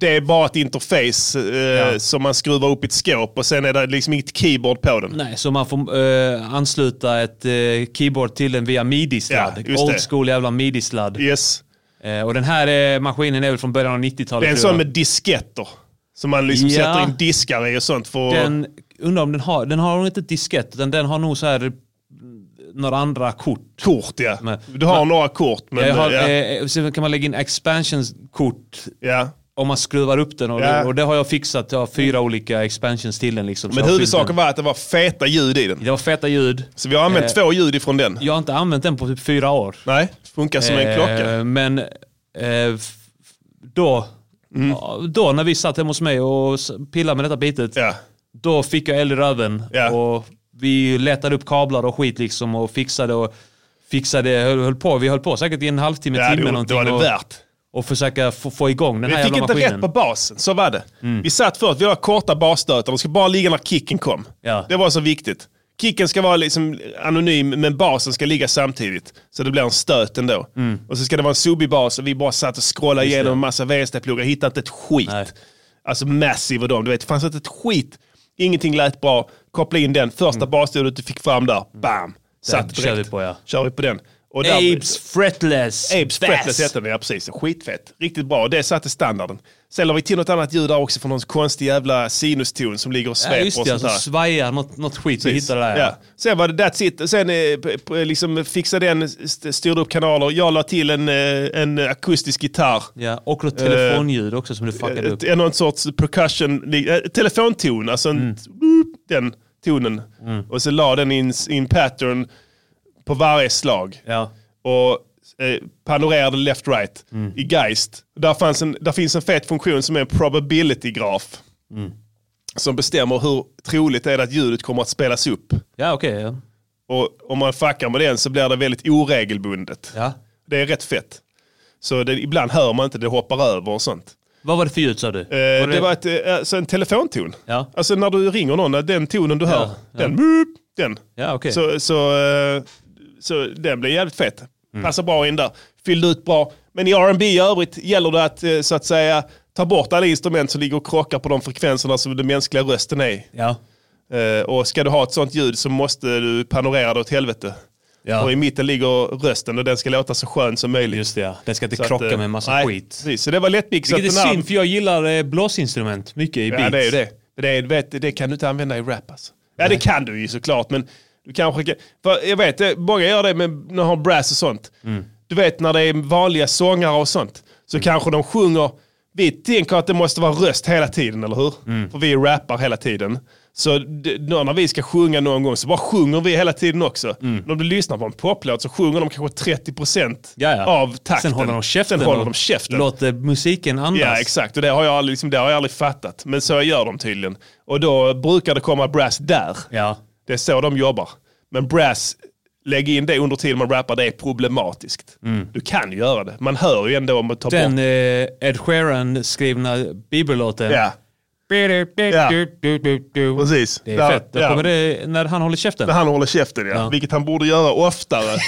S1: det är bara ett interface eh, som man skruvar upp i ett skåp och sen är det liksom inget keyboard på den.
S4: Nej, så man får eh, ansluta ett eh, keyboard till den via midi-sladd.
S1: Ja, just
S4: Old
S1: det.
S4: school jävla midi-sladd.
S1: Yes.
S4: Eh, och den här eh, maskinen är väl från början av 90-talet.
S1: Det är en
S4: tror jag.
S1: sån med disketter. Som man liksom
S4: Ja.
S1: sätter in diskar i och sånt. För
S4: Den, undrar om den har, den har nog inte diskett, utan den har nog så här mm, några andra kort.
S1: Kort ja. Du har några kort. Men,
S4: jag har,
S1: ja.
S4: eh, sen kan man lägga in expansionskort om man skruvar upp den. Och,
S1: Ja.
S4: det, och det har jag fixat. Jag har fyra olika expansions till den. Liksom, Så
S1: Men
S4: jag har fyllt
S1: huvudsaken
S4: den.
S1: var att det var feta ljud i den.
S4: Det var feta ljud.
S1: Så vi har använt
S4: Eh,
S1: två ljud ifrån den.
S4: Jag har inte använt den på typ fyra år.
S1: Nej, funkar som en
S4: Eh,
S1: klocka.
S4: Men eh, f- då,
S1: Mm.
S4: ja, då när vi satt hemma hos mig och s- pillade med detta bitet, då fick jag eld i röven. Och vi letade upp kablar och skit liksom och fixade och fixade, höll, höll på. Vi höll på säkert i en halvtimme,
S1: Ja, det
S4: timme
S1: gjorde-
S4: någonting.
S1: det var det
S4: och,
S1: värt.
S4: Och försöka få, få igång den
S1: Vi
S4: här
S1: fick
S4: jävla
S1: inte
S4: maskinen. Mm.
S1: rätt på basen, så var det. Vi satt förut, vi har korta basstötar, de ska bara ligga när kicken kom. Det var så viktigt. Kicken ska vara liksom anonym, men basen ska ligga samtidigt. Så det blir en stöt ändå. Och så ska det vara en subig bas och vi bara satt och scrollade
S4: Mm. Just det.
S1: igenom en massa VST-pluggar, hittade inte ett skit. Alltså Massive och dem, du vet, det fanns inte ett skit. Ingenting lät bra. Koppla in den, första basljudet du fick fram där, bam! Satt direkt.
S4: Mm. kör vi på ja.
S1: Kör vi på den. Och
S4: Apes Fretless.
S1: Apes
S4: Bass.
S1: Fretless heter den, ja precis. Skitfett. Riktigt bra. Det satte standarden. Sen la vi till något annat ljud där också från någon konstig jävla sinuston som ligger och
S4: Ja,
S1: sveper
S4: just det,
S1: och
S4: alltså
S1: sånt där.
S4: svajar något, något skit vi
S1: Precis.
S4: hittade där.
S1: Ja. Sen var det that's it. Sen eh, p- p- liksom fixade den, st- styrde upp kanaler. Jag la till en, eh, en akustisk gitarr.
S4: Ja, och något telefonljud också som du fuckade upp.
S1: Eh, Någon sorts percussion, li- eh, telefonton, alltså en,
S4: Mm.
S1: den tonen. Och så la den in in pattern på varje slag. Och eh, panorerade left-right i Geist. Där, fanns en, där finns en fet funktion som är en probability-graf. Som bestämmer hur troligt är det att ljudet kommer att spelas upp.
S4: Ja, okej. ja.
S1: Och om man fuckar med den så blir det väldigt oregelbundet. Det är rätt fett. Så det, ibland hör man inte, det hoppar över och sånt.
S4: Vad var det för ljud sa du?
S1: Eh,
S4: Var
S1: det var ett, eh, alltså en telefonton.
S4: Ja.
S1: Alltså när du ringer någon, den tonen du
S4: Ja,
S1: hör,
S4: ja.
S1: den, boop, den.
S4: Ja, okej.
S1: så, så, eh, så den blir jävligt fet.
S4: Mm.
S1: Passar bra in där. Fyllde ut bra. Men i R&B i övrigt gäller det att eh, så att säga ta bort alla instrument som ligger och krockar på de frekvenserna som den mänskliga rösten är.
S4: Ja.
S1: Eh, och ska du ha ett sånt ljud så måste du panorera det åt helvete.
S4: Ja.
S1: Och i mitten ligger rösten och den ska låta så skön som möjligt.
S4: Just det, ja. Den ska inte
S1: Så att,
S4: krocka
S1: eh,
S4: med en massa
S1: nej,
S4: skit.
S1: Precis, så det var lättmixat.
S4: Vilket är
S1: Den här-
S4: synd, för jag gillar eh, blåsinstrument mycket i beats.
S1: Ja, det är ju det. Men det, är, vet, det kan du inte använda i rap alltså. Ja, det kan du ju såklart, men du kanske kan, för Jag vet, det- många gör det med, när de har brass och sånt.
S4: Mm.
S1: Du vet när det är vanliga sångare och sånt, så kanske de sjunger. Vi tänker att det måste vara röst hela tiden, eller hur?
S4: Mm.
S1: För vi rappar hela tiden. Så d- då när vi ska sjunga någon gång så bara sjunger vi hela tiden också.
S4: Mm.
S1: Om du lyssnar på en poplåt så sjunger de kanske 30%
S4: Ja, ja.
S1: av takten.
S4: Sen håller de käften
S1: Sen håller de
S4: och
S1: käften.
S4: låter musiken andas.
S1: Ja exakt, och det har, jag aldrig, liksom, det har jag aldrig fattat. Men så gör de tydligen. Och då brukar det komma brass där. Det är så de jobbar. Men brass, lägg in det under tiden man rappar, det är problematiskt. Du kan ju göra det. Man hör ju ändå om man tar
S4: Mm. Den
S1: bort...
S4: eh, Ed Sheeran skrivna bibellåten.
S1: Ja. Precis.
S4: Det är
S1: Där-
S4: fett. Då
S1: ja.
S4: kommer det när han håller käften.
S1: När han håller käften ja.
S4: Ja.
S1: Vilket han borde göra oftare.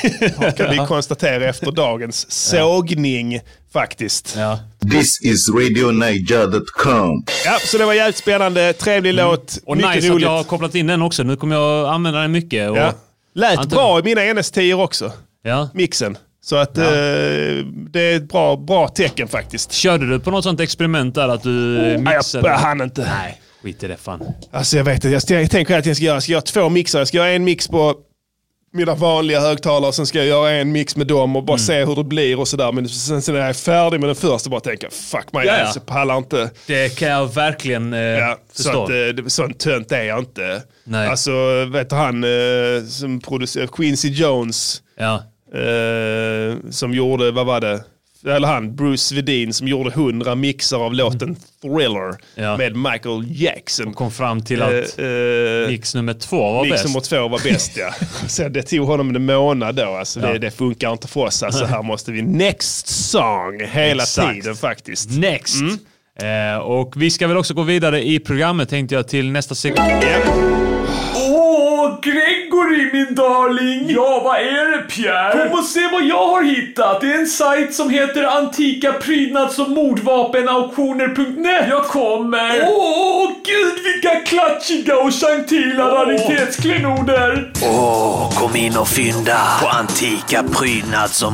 S1: kan vi
S4: Ja.
S1: konstatera efter dagens sågning faktiskt. Ja.
S11: This is RadioNiger.com.
S1: så det var jävligt spännande. Trevlig låt.
S4: Mm. Och
S1: Mycket
S4: nice att
S1: roligt.
S4: jag har kopplat in den också. Nu kommer jag använda den mycket. Och
S1: Ja. Lät
S4: Anton-
S1: bra i mina NS10 också. Mixen. Så att eh, det är ett bra, bra tecken faktiskt.
S4: Körde du på något sånt experiment där att du
S1: Oh, nej,
S4: mixade?
S1: jag hann inte.
S4: Nej, skit i det fan.
S1: Alltså jag vet inte, jag, jag tänker att jag ska göra, jag ska göra två mixar. Jag ska göra en mix på mina vanliga högtalare, sen ska jag göra en mix med dem och bara
S4: Mm.
S1: se hur det blir och sådär. Men sen, sen när jag är färdig med den första bara tänka, fuck mig,
S4: Ja, ja.
S1: jag pallar inte.
S4: Det kan jag verkligen eh, förstå.
S1: Så att, eh, det- sån tönt är jag inte.
S4: Nej.
S1: Alltså, vet du han eh, som producerar, Quincy Jones. Eh, som gjorde, vad var det? Eller han, Bruce Vedin som gjorde hundra mixar av låten Thriller med Michael Jackson. Och
S4: Mm. kom fram till att mix nummer två var
S1: eh, mix
S4: bäst.
S1: nummer två var bäst ja. Så det tog honom en månad då. Alltså,
S4: Ja.
S1: det, det funkar inte för oss. Alltså, här måste vi next song hela
S4: Exakt.
S1: tiden faktiskt.
S4: Next.
S1: Mm.
S4: Eh, och vi ska väl också gå vidare i programmet tänkte jag till nästa sekund.
S14: Åh, Gregory min darling! Ja, vad är det Pierre? Kom och se vad jag har hittat! Det är en sajt som heter Antika prydnads och mordvapenauktioner.net. Jag kommer! Åh, gud vilka klatschiga och gentila raritetsklenodier!
S15: Åh, kom in och fynda på antika prydnads och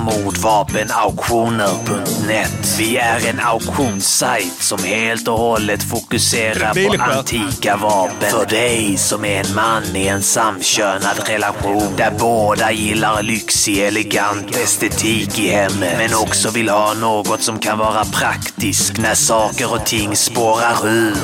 S15: mordvapenauktioner.net. Vi är en auktionssajt som helt och hållet fokuserar på
S16: Bilskär.
S15: antika vapen. För dig som är en man i en samkönad balanserad relation där båda gillar lyxig, elegant estetik i hemmet men också vill ha något som kan vara praktiskt när saker och ting spårar ur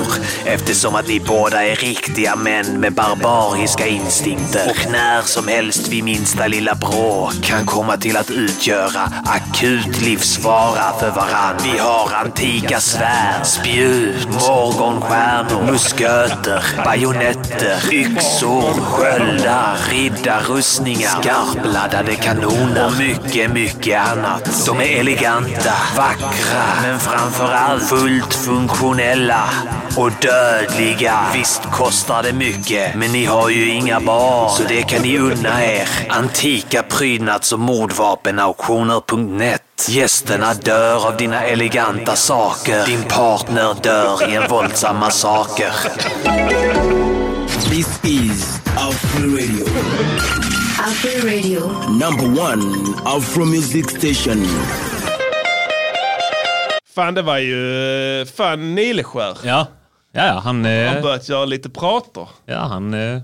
S15: eftersom att ni båda är riktiga män med barbariska instinkter och när som helst vid minsta lilla bråk kan komma till att utgöra akut livsfara för varann. Vi har antika svärd, spjut, morgonstjärnor, musköter, bajonetter, yxor, sköldar, riddarrustningar, skarpladdade kanoner och mycket, mycket annat. De är eleganta, vackra, men framför allt fullt funktionella och dödliga. Visst kostar det mycket, men ni har ju inga barn, så det kan ni unna er. Antika prydnads och mordvapenauktioner.net Gästerna dör av dina eleganta saker. Din partner dör i en våldsam massaker.
S16: This is Afro Radio.
S17: Afro Radio.
S16: Number one Afro Music Station.
S1: Fan, det var ju eh, fan Nileskär.
S4: Ja, ja, ja han...
S1: Han
S4: Eh,
S1: har börjat göra lite prater.
S4: ja, han eh,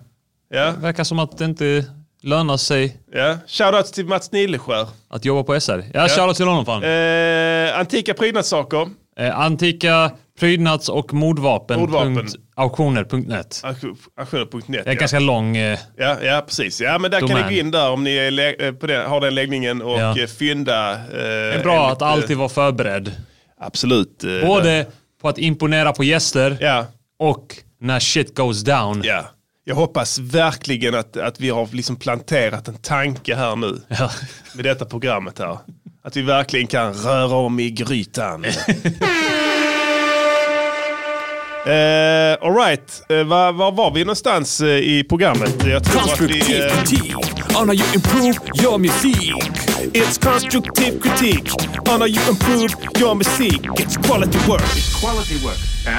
S1: Ja.
S4: verkar som att det inte lönar sig
S1: Ja. Shoutouts till Mats Nileskär.
S4: att jobba på SR. Ja, shoutout till honom fan.
S1: Eh, antika prydnadssaker.
S4: Eh, antika prydnads och mordvapen.
S1: Mordvapen.
S4: punkt Auktioner. punkt net.
S1: Auktioner.net.
S4: Det är ganska lång... Eh,
S1: Ja, ja, precis. Ja, men där kan
S4: Domän.
S1: ni gå in där om ni är lä- eh, på den, har den läggningen och
S4: Ja.
S1: eh, fynda. eh,
S4: det är bra
S1: enligt,
S4: att alltid
S1: eh,
S4: vara förberedd.
S1: Absolut. eh,
S4: Både på att imponera på gäster och när shit goes down.
S1: Ja. Jag hoppas verkligen att, att vi har liksom planterat en tanke här nu. Med detta programmet här. Att vi verkligen kan röra om i grytan. Eh, all right. Eh, var, var var vi någonstans eh, i programmet? Jag tror att vi...
S10: Konstruktiv
S1: eh,
S10: kritik on how you improve your music.
S8: It's constructive critique on how you improve your music. It's quality work.
S18: Quality work.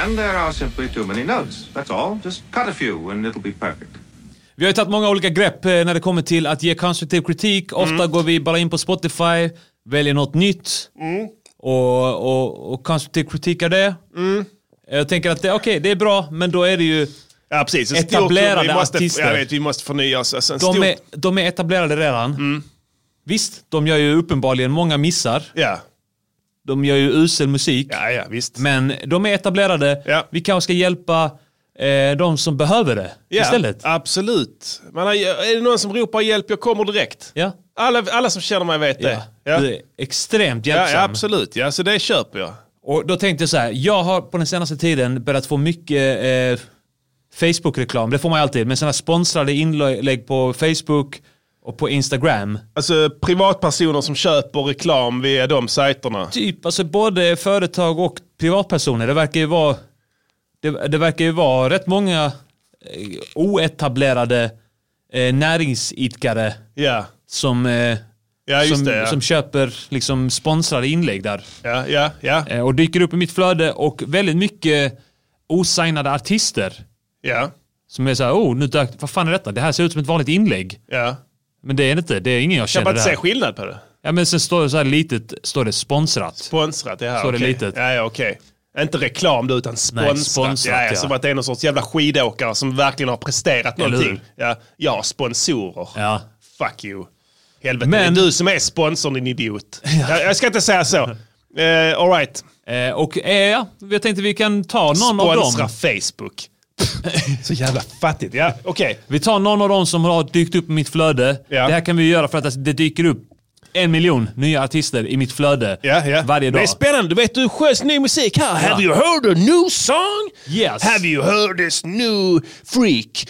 S18: And there are simply too many notes. That's all. Just cut a few and it'll be perfect.
S4: Vi har ju tagit många olika grepp eh, när det kommer till att ge konstruktiv kritik.
S1: Mm.
S4: Ofta går vi bara in på Spotify, väljer något nytt
S1: Mm.
S4: och, och, och konstruktiv kritik är det.
S1: Mm.
S4: Jag tänker att det, okej, det är bra, men då är det ju
S1: ja, precis. En stor klubb. vi
S4: etablerade
S1: måste,
S4: artister.
S1: Jag vet, vi måste förnya oss. Alltså, en
S4: de,
S1: stor...
S4: är, de är etablerade redan.
S1: Mm.
S4: Visst, de gör ju uppenbarligen många missar.
S1: Ja.
S4: De gör ju usel musik.
S1: Ja, ja, visst.
S4: Men de är etablerade. Vi kanske ska hjälpa eh, de som behöver det
S1: Ja,
S4: istället.
S1: absolut. Man har, är det någon som ropar hjälp, jag kommer direkt.
S4: Ja.
S1: Alla, alla som känner mig vet det. Ja.
S4: Du är extremt
S1: Ja,
S4: hjälpsam.
S1: ja, absolut. Ja, så det köper jag.
S4: Och då tänkte jag så här, jag har på den senaste tiden börjat få mycket eh, Facebook-reklam, det får man ju alltid, men sådana sponsrade inlägg på Facebook och på Instagram.
S1: Alltså privatpersoner som köper reklam via de sajterna.
S4: Typ, alltså både företag och privatpersoner, det verkar ju vara, det, det verkar ju vara rätt många eh, oetablerade eh, näringsidkare
S1: Ja.
S4: som, eh,
S1: Ja, just
S4: som,
S1: det, ja.
S4: som köper liksom sponsrade inlägg där.
S1: Ja, ja, ja.
S4: Eh, Och dyker upp i mitt flöde och väldigt mycket osignade artister.
S1: Ja.
S4: Som är såhär, oh, nu dök, vad fan är detta? Det här ser ut som ett vanligt inlägg.
S1: Ja.
S4: Men det är det inte, det är ingen jag
S1: Kan
S4: känner
S1: man inte
S4: där.
S1: se skillnad på det?
S4: Ja men sen står det så här litet, står det sponsrat.
S1: Sponsrat, ja.
S4: Står det
S1: okej.
S4: litet.
S1: Ja, ja, okej. Inte reklam då, utan sponsrat.
S4: sponsrat,
S1: ja, ja.
S4: ja.
S1: Som att det är någon sorts jävla skidåkare som verkligen har presterat
S4: Eller
S1: någonting. Ja, ja, sponsorer.
S4: Ja.
S1: Fuck you. Helvete, det är du som är sponsorn din idiot. Jag, jag ska inte säga så. Uh, all right.
S4: och eh, ja, jag tänkte vi kan ta någon av dem.
S1: Sponsra Facebook. så jävla fattigt. Ja, okej.
S4: Vi tar någon av dem som har dykt upp i mitt flöde. Det här kan vi göra för att alltså, det dyker upp en miljon nya artister i mitt flöde varje dag.
S1: Det är spännande. Du vet, du sköts ny musik här. Have you heard a new song?
S4: Yes.
S1: Have you heard this new freak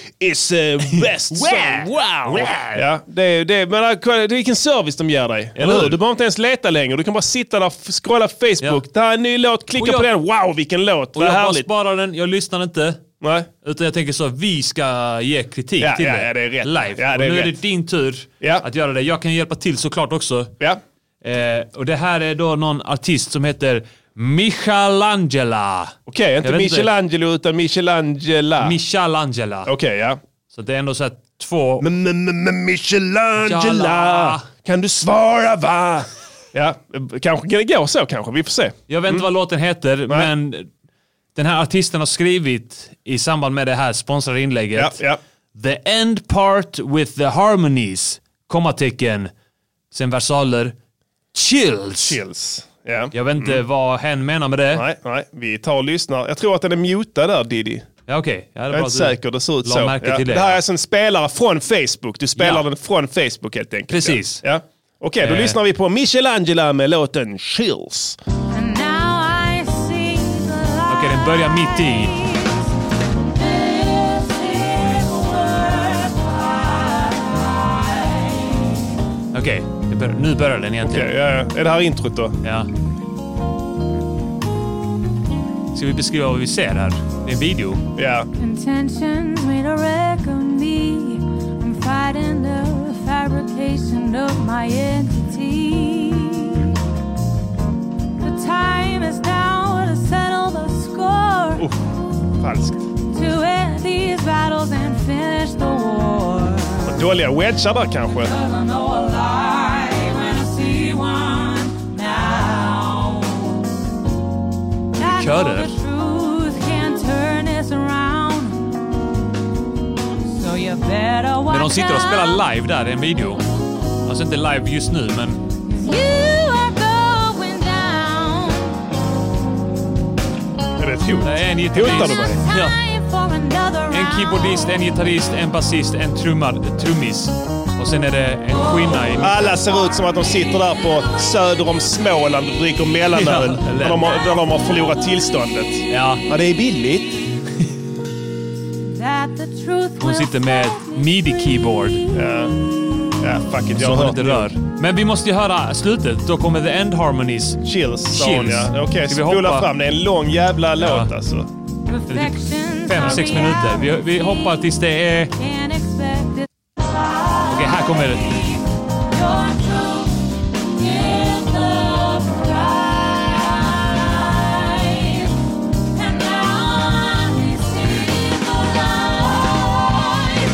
S1: is uh, best song? Wow! Ja, det är, det är, men äh, kolla, det är vilken service de ger dig. Eller hur? Du behöver inte ens leta längre. Du kan bara sitta där, f- scrolla Facebook. Det här är en ny låt, klicka
S4: Och jag-
S1: på den. Wow, vilken låt!
S4: Och
S1: Vad
S4: jag bara
S1: härligt!
S4: sparar den, jag lyssnar inte.
S1: Nej.
S4: Utan jag tänker så, vi ska ge kritik
S1: Ja,
S4: till
S1: ja,
S4: dig.
S1: ja, det är rätt.
S4: Live.
S1: Ja, det är
S4: och nu är
S1: rätt.
S4: det din tur att göra det. Jag kan hjälpa till såklart också. Eh, och det här är då någon artist som heter Michelangela.
S1: Okej, inte
S4: Jag vet
S1: Michelangelo utan Michelangela.
S4: Michelangela.
S1: Okej, ja.
S4: Så det är ändå så här två...
S1: Michelangela, kan du svara va? Ja, kanske kan det gå så kanske. Vi får se.
S4: Jag vet inte
S1: Mm.
S4: vad låten heter, men den här artisten har skrivit i samband med det här sponsrade inlägget.
S1: Ja, ja.
S4: The end part with the harmonies, kommatecken, sen versaler, chills.
S1: Chills.
S4: Jag vet inte vad hen menar med det.
S1: Mm. Nej, nej, vi tar och lyssnar. Jag tror att den är mutad där Diddy.
S4: Ja, okej. Ja, det är
S1: Jag är
S4: bra
S1: inte
S4: att du
S1: säker, det ser ut
S4: la
S1: så.
S4: märke
S1: ja.
S4: till det.
S1: här är alltså en spelare från Facebook. Du spelar den från Facebook helt enkelt.
S4: Precis.
S1: Ja. Okej, då
S4: Eh.
S1: lyssnar vi på Michelangelo med låten Chills.
S4: Okej, den börjar mitt i. Okej, det bör- nu börjar den egentligen.
S1: Okej, ja, ja. Är det här introt då?
S4: Ja. Ska vi beskriva vad vi ser här? Det är en video.
S1: Ja.
S19: Intentions made a wreck of me. I'm fighting the fabrication of my entity. The time is now to settle the score.
S1: Falskt.
S19: To end these battles and finish the war.
S1: Och Dåliga wedgar där kanske.
S19: Cause I know a lie when I see one now. I know
S4: Körer.
S19: the truth can't turn this around. So you better watch
S4: Men de sitter och
S19: out.
S4: spelar live där i en video. Alltså inte live just nu, men...
S19: You are going down.
S1: Är det ett hot?
S4: Det är en
S19: Hotar
S4: gitarrist.
S19: du mig?
S4: Ja.
S19: Time for another round.
S4: En keyboardist, en gitarrist, en basist, en trummad, trummis. Och sen är det en skinna i...
S1: Alla ser ut som att de sitter där på söder om Småland och dricker mellanöl.
S4: Ja, eller-
S1: Där de, har, där de har förlorat tillståndet.
S4: Ja.
S1: ja, det är billigt.
S19: That the truth
S4: Hon sitter med midi-keyboard.
S1: Ja. ja, fuck it. Jag
S4: Som
S1: har
S4: hon
S1: hört
S4: inte rör. Men vi måste ju höra slutet. Då kommer the end harmonies.
S1: Chills, sa hon,
S4: Chills.
S1: ja. Okej,
S4: Ska vi
S1: spola
S4: hoppa?
S1: fram. Det är en lång jävla låt alltså.
S4: Fem, sex minuter. Vi, vi hoppar tills det är... Okej,
S19: Can't expect it.
S4: här kommer det.
S19: Your truth is the prize. And now I receive the light.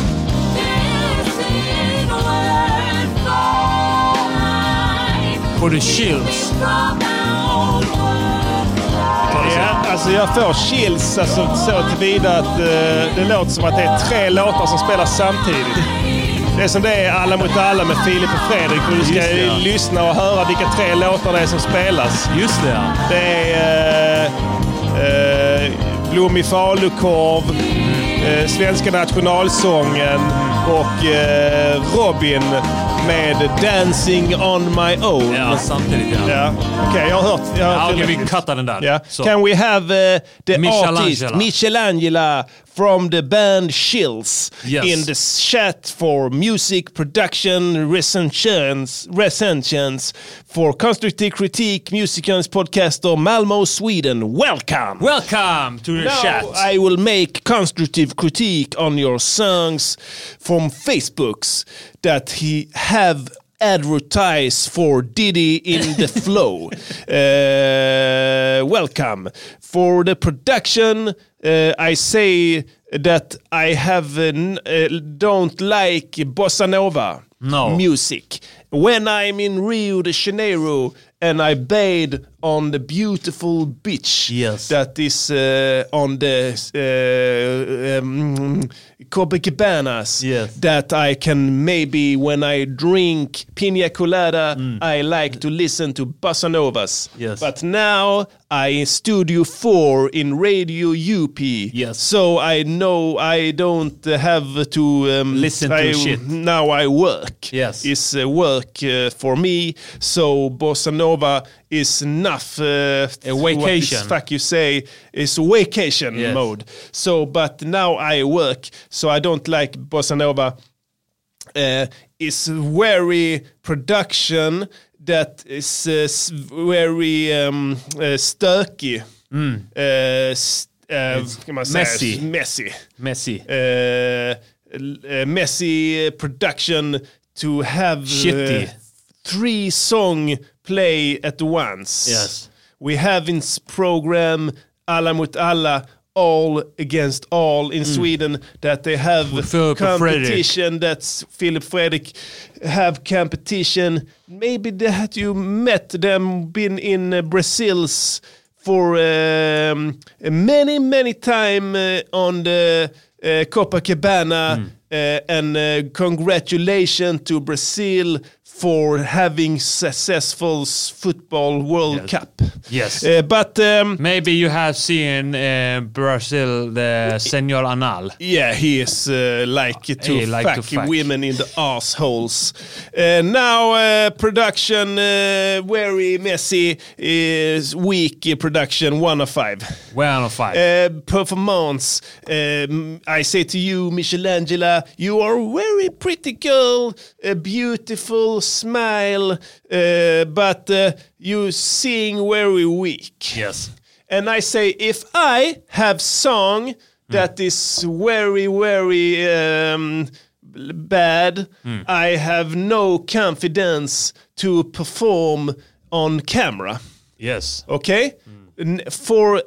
S19: This is worth fight.
S4: Får du chills?
S19: From now
S4: liksom.
S1: Ja, alltså jag får chills alltså, så tillvida att eh, det låter som att det är tre låtar som spelas samtidigt. Det är som det är Alla mot alla med Filip och Fredrik. Och du ska
S4: Just det, ja.
S1: lyssna och höra vilka tre låtar det är som spelas.
S4: Just det, ja.
S1: Det är eh, eh, Blommig falukorv,
S4: Mm.
S1: eh, Svenska nationalsången och eh, Robin med Dancing on my own.
S4: Ja, samtidigt ja.
S1: Ja. Okej, jag har hört. Jag har hört
S4: Ja, okej, vi
S1: tillräckligt.
S4: cuttar den där.
S1: Ja.
S4: Så.
S1: Can we have uh, the
S4: Michelangelo.
S1: artist Michelangelo from the band Chills in the chat for music production recensions, recensions for constructive critique, musicans podcaster Malmo, Sweden. Welcome!
S4: Welcome to the
S1: Now
S4: chat!
S1: I will make constructive critique on your songs from Facebooks that he have advertised for Diddy in the flow. Uh, welcome for the production. uh, I say that I have n- uh, don't like bossa nova
S4: No.
S1: music. When I'm in Rio de Janeiro and I bathe on the beautiful beach that is uh, on the uh, um, Copecabanas, that I can maybe when I drink pina colada, I like to listen to bossa novas.
S4: Mm. Yes.
S1: But now I in Studio 4 in Radio UP. Yes. So I know I don't uh, have to um,
S4: Listen to
S1: I-
S4: shit.
S1: now I work.
S4: Yes.
S1: Is uh, work uh, for me. So bossa nova is enough. Uh,
S4: A
S1: What
S4: vacation.
S1: is fuck you say is vacation
S4: Yes.
S1: mode. So, but now I work. So I don't like bossa nova. Uh, is very production that is uh, s- very um, uh, stökig. Uh, s- uh, vad kan man säga?
S4: Mm. messy.
S1: Messy.
S4: Messi.
S1: Uh, l- uh, messy production to have uh,
S4: Shitty.
S1: three song play at once.
S4: Yes.
S1: We have in s- program Alla mot alla, all against all in Sweden that they have
S4: Philip and Mm. Fredrik.
S1: competition. That's Philip Fredrik have competition. Maybe that you met them been in uh, Brazil's for um, many many time uh, on the uh, eh, Copacabana,
S4: Hmm.
S1: eh, en eh, congratulations to Brazil for having successful s- football World Cup.
S4: Yes.
S1: but um,
S4: maybe you have seen uh, Brazil, the Senor Anal.
S1: Yeah, he is uh, like to,
S4: He like
S1: fuck
S4: to fuck.
S1: women in the assholes. Uh, now, uh, production uh, very messy is weak uh, production one of five.
S4: One of five.
S1: Uh, performance. Um, I say to you, Michelangela, you are very pretty girl, a beautiful smile, uh, but uh, you sing very weak.
S4: Yes.
S1: And I say, if I have song that
S4: Hmm.
S1: is very, very um, l- bad,
S4: Mm.
S1: I have no confidence to perform on camera.
S4: Yes.
S1: Okay? N- For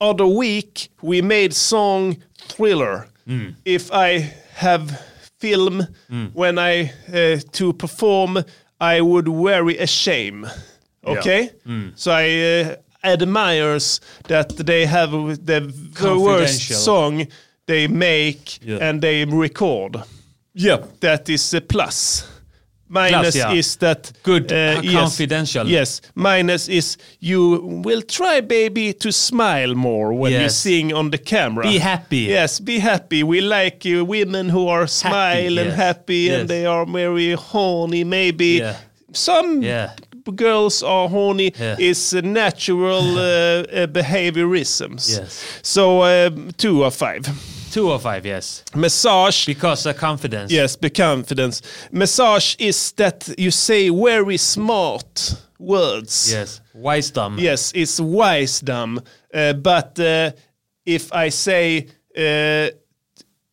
S1: other week, we made song Thriller.
S4: Mm.
S1: If I have film
S4: Mm.
S1: when I uh, to perform, I would very ashamed.
S4: Yeah.
S1: Okay?
S4: Mm.
S1: So I uh, admires that they have the, the worst
S4: Confidential.
S1: song they make
S4: Yeah.
S1: and they record. Yeah, that is a plus. Minus
S4: Plus, yeah.
S1: is that
S4: Good,
S1: uh, yes.
S4: confidential.
S1: Yes, minus is you will try, baby, to smile more when you
S4: Yes.
S1: sing on the camera.
S4: Be happy.
S1: Yes, be happy. We like uh, women who are smile and
S4: yes.
S1: happy,
S4: Yes.
S1: and they are very horny. Maybe
S4: Yeah.
S1: some
S4: Yeah.
S1: b- girls are horny
S4: Yeah.
S1: is a natural uh, uh, behaviorisms.
S4: Yes.
S1: So uh, two of five.
S4: Two of five, yes.
S1: Massage.
S4: Because of confidence.
S1: Yes, be confidence. Massage is that you say very smart words.
S4: Yes. Wisdom.
S1: Yes, it's wisdom. Uh, but uh, if I say uh,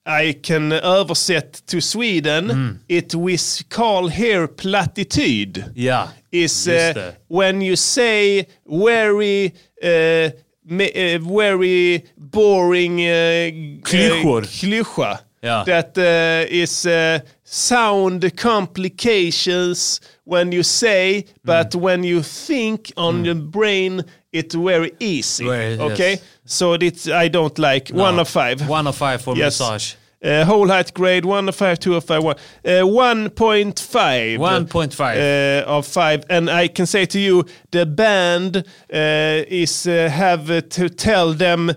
S1: I can översätt to Sweden, it we call here platityd.
S4: Yeah.
S1: Is
S4: Just
S1: uh,
S4: det.
S1: when you say very uh, me- uh, very boring uh, g-
S4: Klyschor.
S1: uh, klyscha
S4: Ja.
S1: that uh, is uh, sound complications when you say, but
S4: Mm.
S1: when you think on your brain, it's very easy.
S4: Very-
S1: okay,
S4: yes.
S1: so it's I don't like
S4: No.
S1: one of five.
S4: One of five for
S1: Yes.
S4: massage.
S1: Uh, whole height grade one of five, two of five, one. Uh, one point five.
S4: 1.5.
S1: Uh, of five, and I can say to you, the band uh, is uh, have uh, to tell them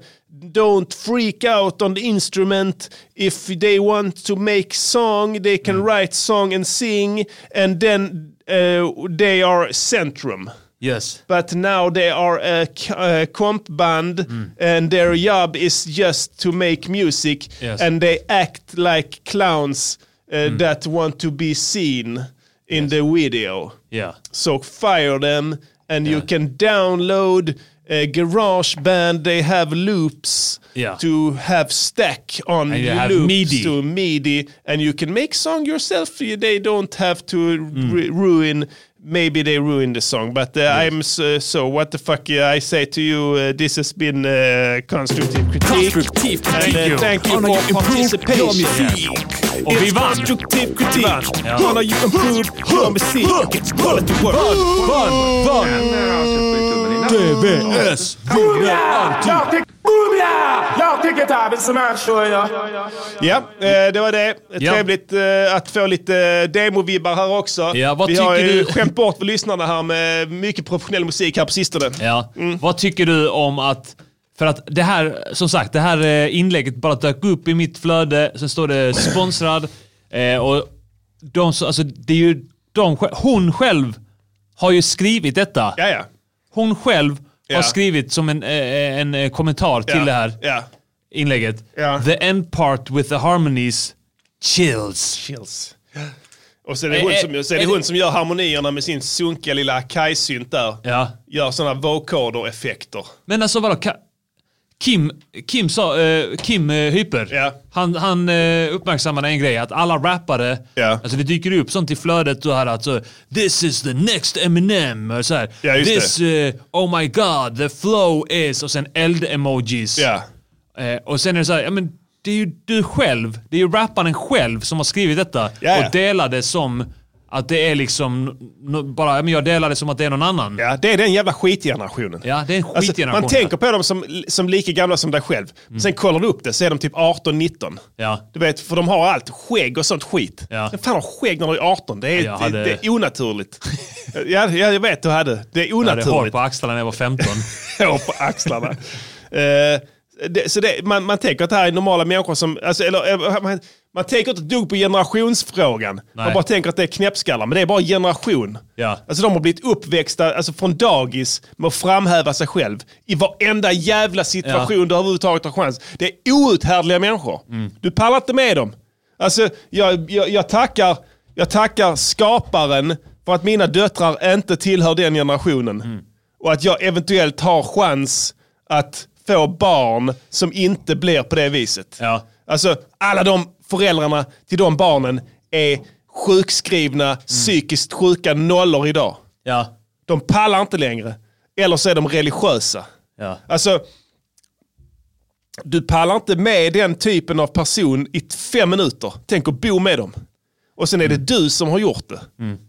S1: don't freak out on the instrument if they want to make song they can write song and sing and then uh, they are centrum
S4: Yes.
S1: but now they are a, c- a comp band and their job is just to make music
S4: Yes.
S1: and they act like clowns uh, that want to be seen in the video
S4: Yeah.
S1: so fire them and you can download a garage band they have loops
S4: Yeah.
S1: to have stack on
S4: And you
S1: your
S4: have
S1: loops
S4: MIDI.
S1: to MIDI and you can make song yourself they don't have to
S4: Hmm.
S1: ru- ruin maybe they ruin the song but uh, I'm so, so what the fuck yeah, I say to you uh, this has been uh, constructive critique
S5: Konstruktiv
S1: and uh,
S5: kritik.
S1: thank you
S5: Honor
S1: for
S5: you improved your
S1: participation
S5: musik. Och vi
S1: It's
S5: vann.
S1: constructive critique
S5: Ja.
S1: Honor you improved your music It's quality work
S5: Vann, vann.
S4: TVS
S3: Jag tycker David som är så ja.
S1: Ja, eh, det var det. Trevligt eh, att få lite demovibbar här också.
S4: Ja, vad
S1: Vi har
S4: tycker
S1: ju
S4: du-
S1: skämt bort för lyssnarna här med mycket professionell musik här på sistone.
S4: Ja.
S1: Mm.
S4: Vad tycker du om att... För att det här, som sagt, det här eh, inlägget bara dök upp i mitt flöde. Sen står det sponsrad. eh, och de som, alltså det är ju de sj- Hon själv har ju skrivit detta.
S1: Ja, ja.
S4: Hon själv
S1: Ja.
S4: har skrivit som en, eh, en eh, kommentar till
S1: Ja,
S4: det här
S1: ja.
S4: inlägget.
S1: Ja.
S4: The end part with the harmonies chills.
S1: Chills. Och sen är det hon
S4: Eh,
S1: som, sen är
S4: eh,
S1: det hon som gör harmonierna med sin sunkiga lilla kajsynt där.
S4: Ja.
S1: Gör sådana vocoder-effekter.
S4: Men alltså vadå? Ka- Kim, Kim, sa, eh, Kim eh, Hyper, han, han eh, uppmärksammade en grej, att alla rappare, alltså det dyker upp sånt i flödet och här alltså, this is the next Eminem, och så här,
S1: Ja, just
S4: this, eh, oh my god, the flow is, och sen eld-emojis. Eh, och sen är det så här, ja men det är ju du själv, det är ju rapparen själv som har skrivit detta
S1: Ja, ja.
S4: och delade som Att det är liksom, no, bara, ja, men jag delar det som att det är någon annan.
S1: Ja, det är den jävla skitgenerationen.
S4: Ja, det är en
S1: Alltså,
S4: skitgeneration. Mm.
S1: man tänker på dem som, som lika gamla som dig själv. Sen kollar du upp det så är de typ 18-19.
S4: Ja.
S1: Du vet, för de har allt. Skägg och sånt skit.
S4: Ja.
S1: Vem fan har skägg när du är 18? Det är,
S4: Jag hade-
S1: det är onaturligt. ja, ja, jag vet du hade. Det är
S4: Jag hade hår
S1: onaturligt.
S4: på axlarna när jag var 15.
S1: Hår på axlarna. Eh, det, så det, man, man tänker att det här är normala människor som... Alltså, eller, eh, man, man tänker inte ett dugg på generationsfrågan. Man
S4: Nej.
S1: bara tänker att det är knäppskallar, men det är bara generation.
S4: Ja.
S1: Alltså de har blivit uppväxta alltså, från dagis med att framhäva sig själv i varenda jävla situation
S4: Ja.
S1: du överhuvudtaget har chans. Det är outhärdliga människor. Du pallar inte med dem. Alltså, jag, jag, jag, tackar, jag tackar skaparen för att mina döttrar inte tillhör den generationen. Och att jag eventuellt har chans att få barn som inte blir på det viset. Alltså, alla de föräldrarna till de barnen är sjukskrivna, psykiskt sjuka nollor idag.
S4: Ja.
S1: De pallar inte längre. Eller så är de religiösa.
S4: Ja.
S1: Alltså, du pallar inte med den typen av person i t- fem minuter. Tänk att bo med dem. Och sen är det du som har gjort det.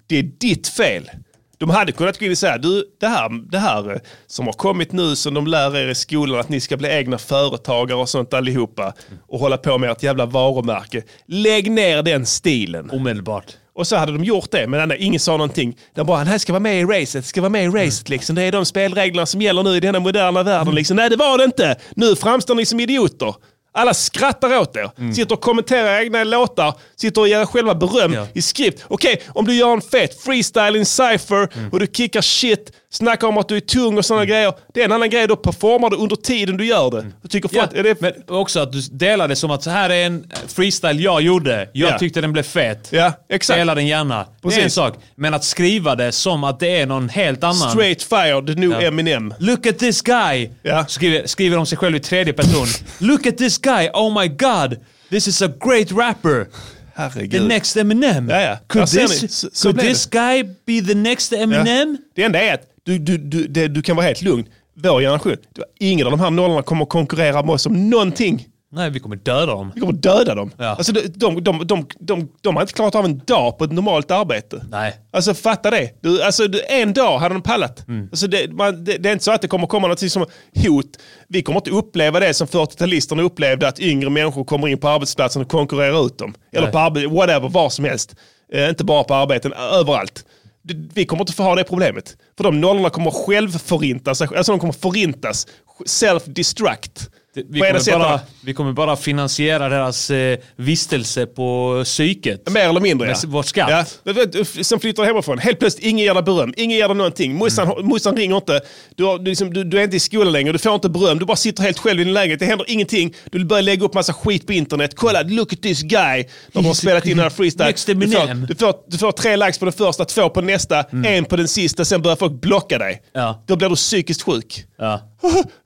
S1: Det är ditt fel. De hade kunnat gå in och säga, du, det här, det här eh, som har kommit nu som de lär er i skolan att ni ska bli egna företagare och sånt allihopa och hålla på med ert jävla varumärke. Lägg ner den stilen.
S4: Omedelbart.
S1: Och så hade de gjort det, men nej, ingen sa någonting. De bara, han ska vara med i racet, ska vara med i racet liksom. Det är de spelreglerna som gäller nu i denna moderna världen liksom. Nej, det var det inte. Nu framstår ni som idioter. Alla skrattar åt er, sitter och kommenterar egna låtar, sitter och ger er själva beröm i skript. Okej, om du gör en fet freestyle i en cypher och du kickar shit, snackar om att du är tung och sådana grejer. Det är en annan grej, då performar du under tiden du gör det. Då tycker folk, är det...
S4: Men också att du delar det som att så här är en freestyle jag gjorde. Jag
S1: Ja.
S4: tyckte den blev fet.
S1: Ja, exakt.
S4: Dela den gärna. Det är en
S1: Precis.
S4: sak. Men att skriva det som att det är någon helt annan.
S1: Straight fired, new Eminem.
S4: Look at this guy! Skriver, skriver om sig själv i tredje person. Look at this guy, oh my god! This is a great rapper!
S1: Herregud.
S4: The next Eminem!
S1: Ja, ja.
S4: Could
S1: Ja, ser ni?
S4: this,
S1: Så- så
S4: could
S1: blev
S4: this guy be the next Eminem?
S1: Ja. Det enda är att du, du, du, det, du kan vara helt lugn. Vår generation, det var ingen av de här nollorna kommer att konkurrera med oss om någonting.
S4: Nej, vi kommer döda dem.
S1: Vi kommer att döda dem.
S4: Ja.
S1: Alltså, de, de, de, de, de, de har inte klarat av en dag på ett normalt arbete.
S4: Nej.
S1: Alltså fatta det. Du, alltså, du, en dag hade de pallat.
S4: Mm.
S1: Alltså, det, man, det, det är inte så att det kommer komma något som hot. Vi kommer inte uppleva det som 40-talisterna upplevde, att yngre människor kommer in på arbetsplatsen och konkurrerar ut dem. Eller
S4: Nej.
S1: på arbete, whatever, var som helst. Eh, inte bara på arbeten, ö- överallt. Du- Vi kommer inte få ha det problemet. För de nollorna kommer självförinta sig. Alltså de kommer förintas. Self-destruct.
S4: Det- Vi
S1: På ena
S4: kommer,
S1: sidan-
S4: bara, vi kommer bara finansiera deras eh, vistelse på psyket.
S1: Mer eller mindre ja.
S4: Med vår skatt.
S1: Ja. Men vet du, Sen flyttar du hemifrån. Helt plötsligt, ingen ger dig beröm. Ingen ger dig någonting. Morsan
S4: Mm.
S1: morsan ringer inte. Du, har, du, liksom, du, du är inte i skolan längre. Du får inte beröm. Du bara sitter helt själv i din lägenhet. Det händer ingenting. Du börjar lägga upp massa skit på internet. Kolla, look at this guy. De
S4: He's
S1: har spelat in den här freestyle.
S4: next
S1: Du
S4: Eminem. Mm.
S1: får, du, får, du får tre likes på den första, två på nästa, en på den sista. Sen börjar folk blocka dig.
S4: Ja.
S1: Då blir du psykiskt sjuk.
S4: Ja.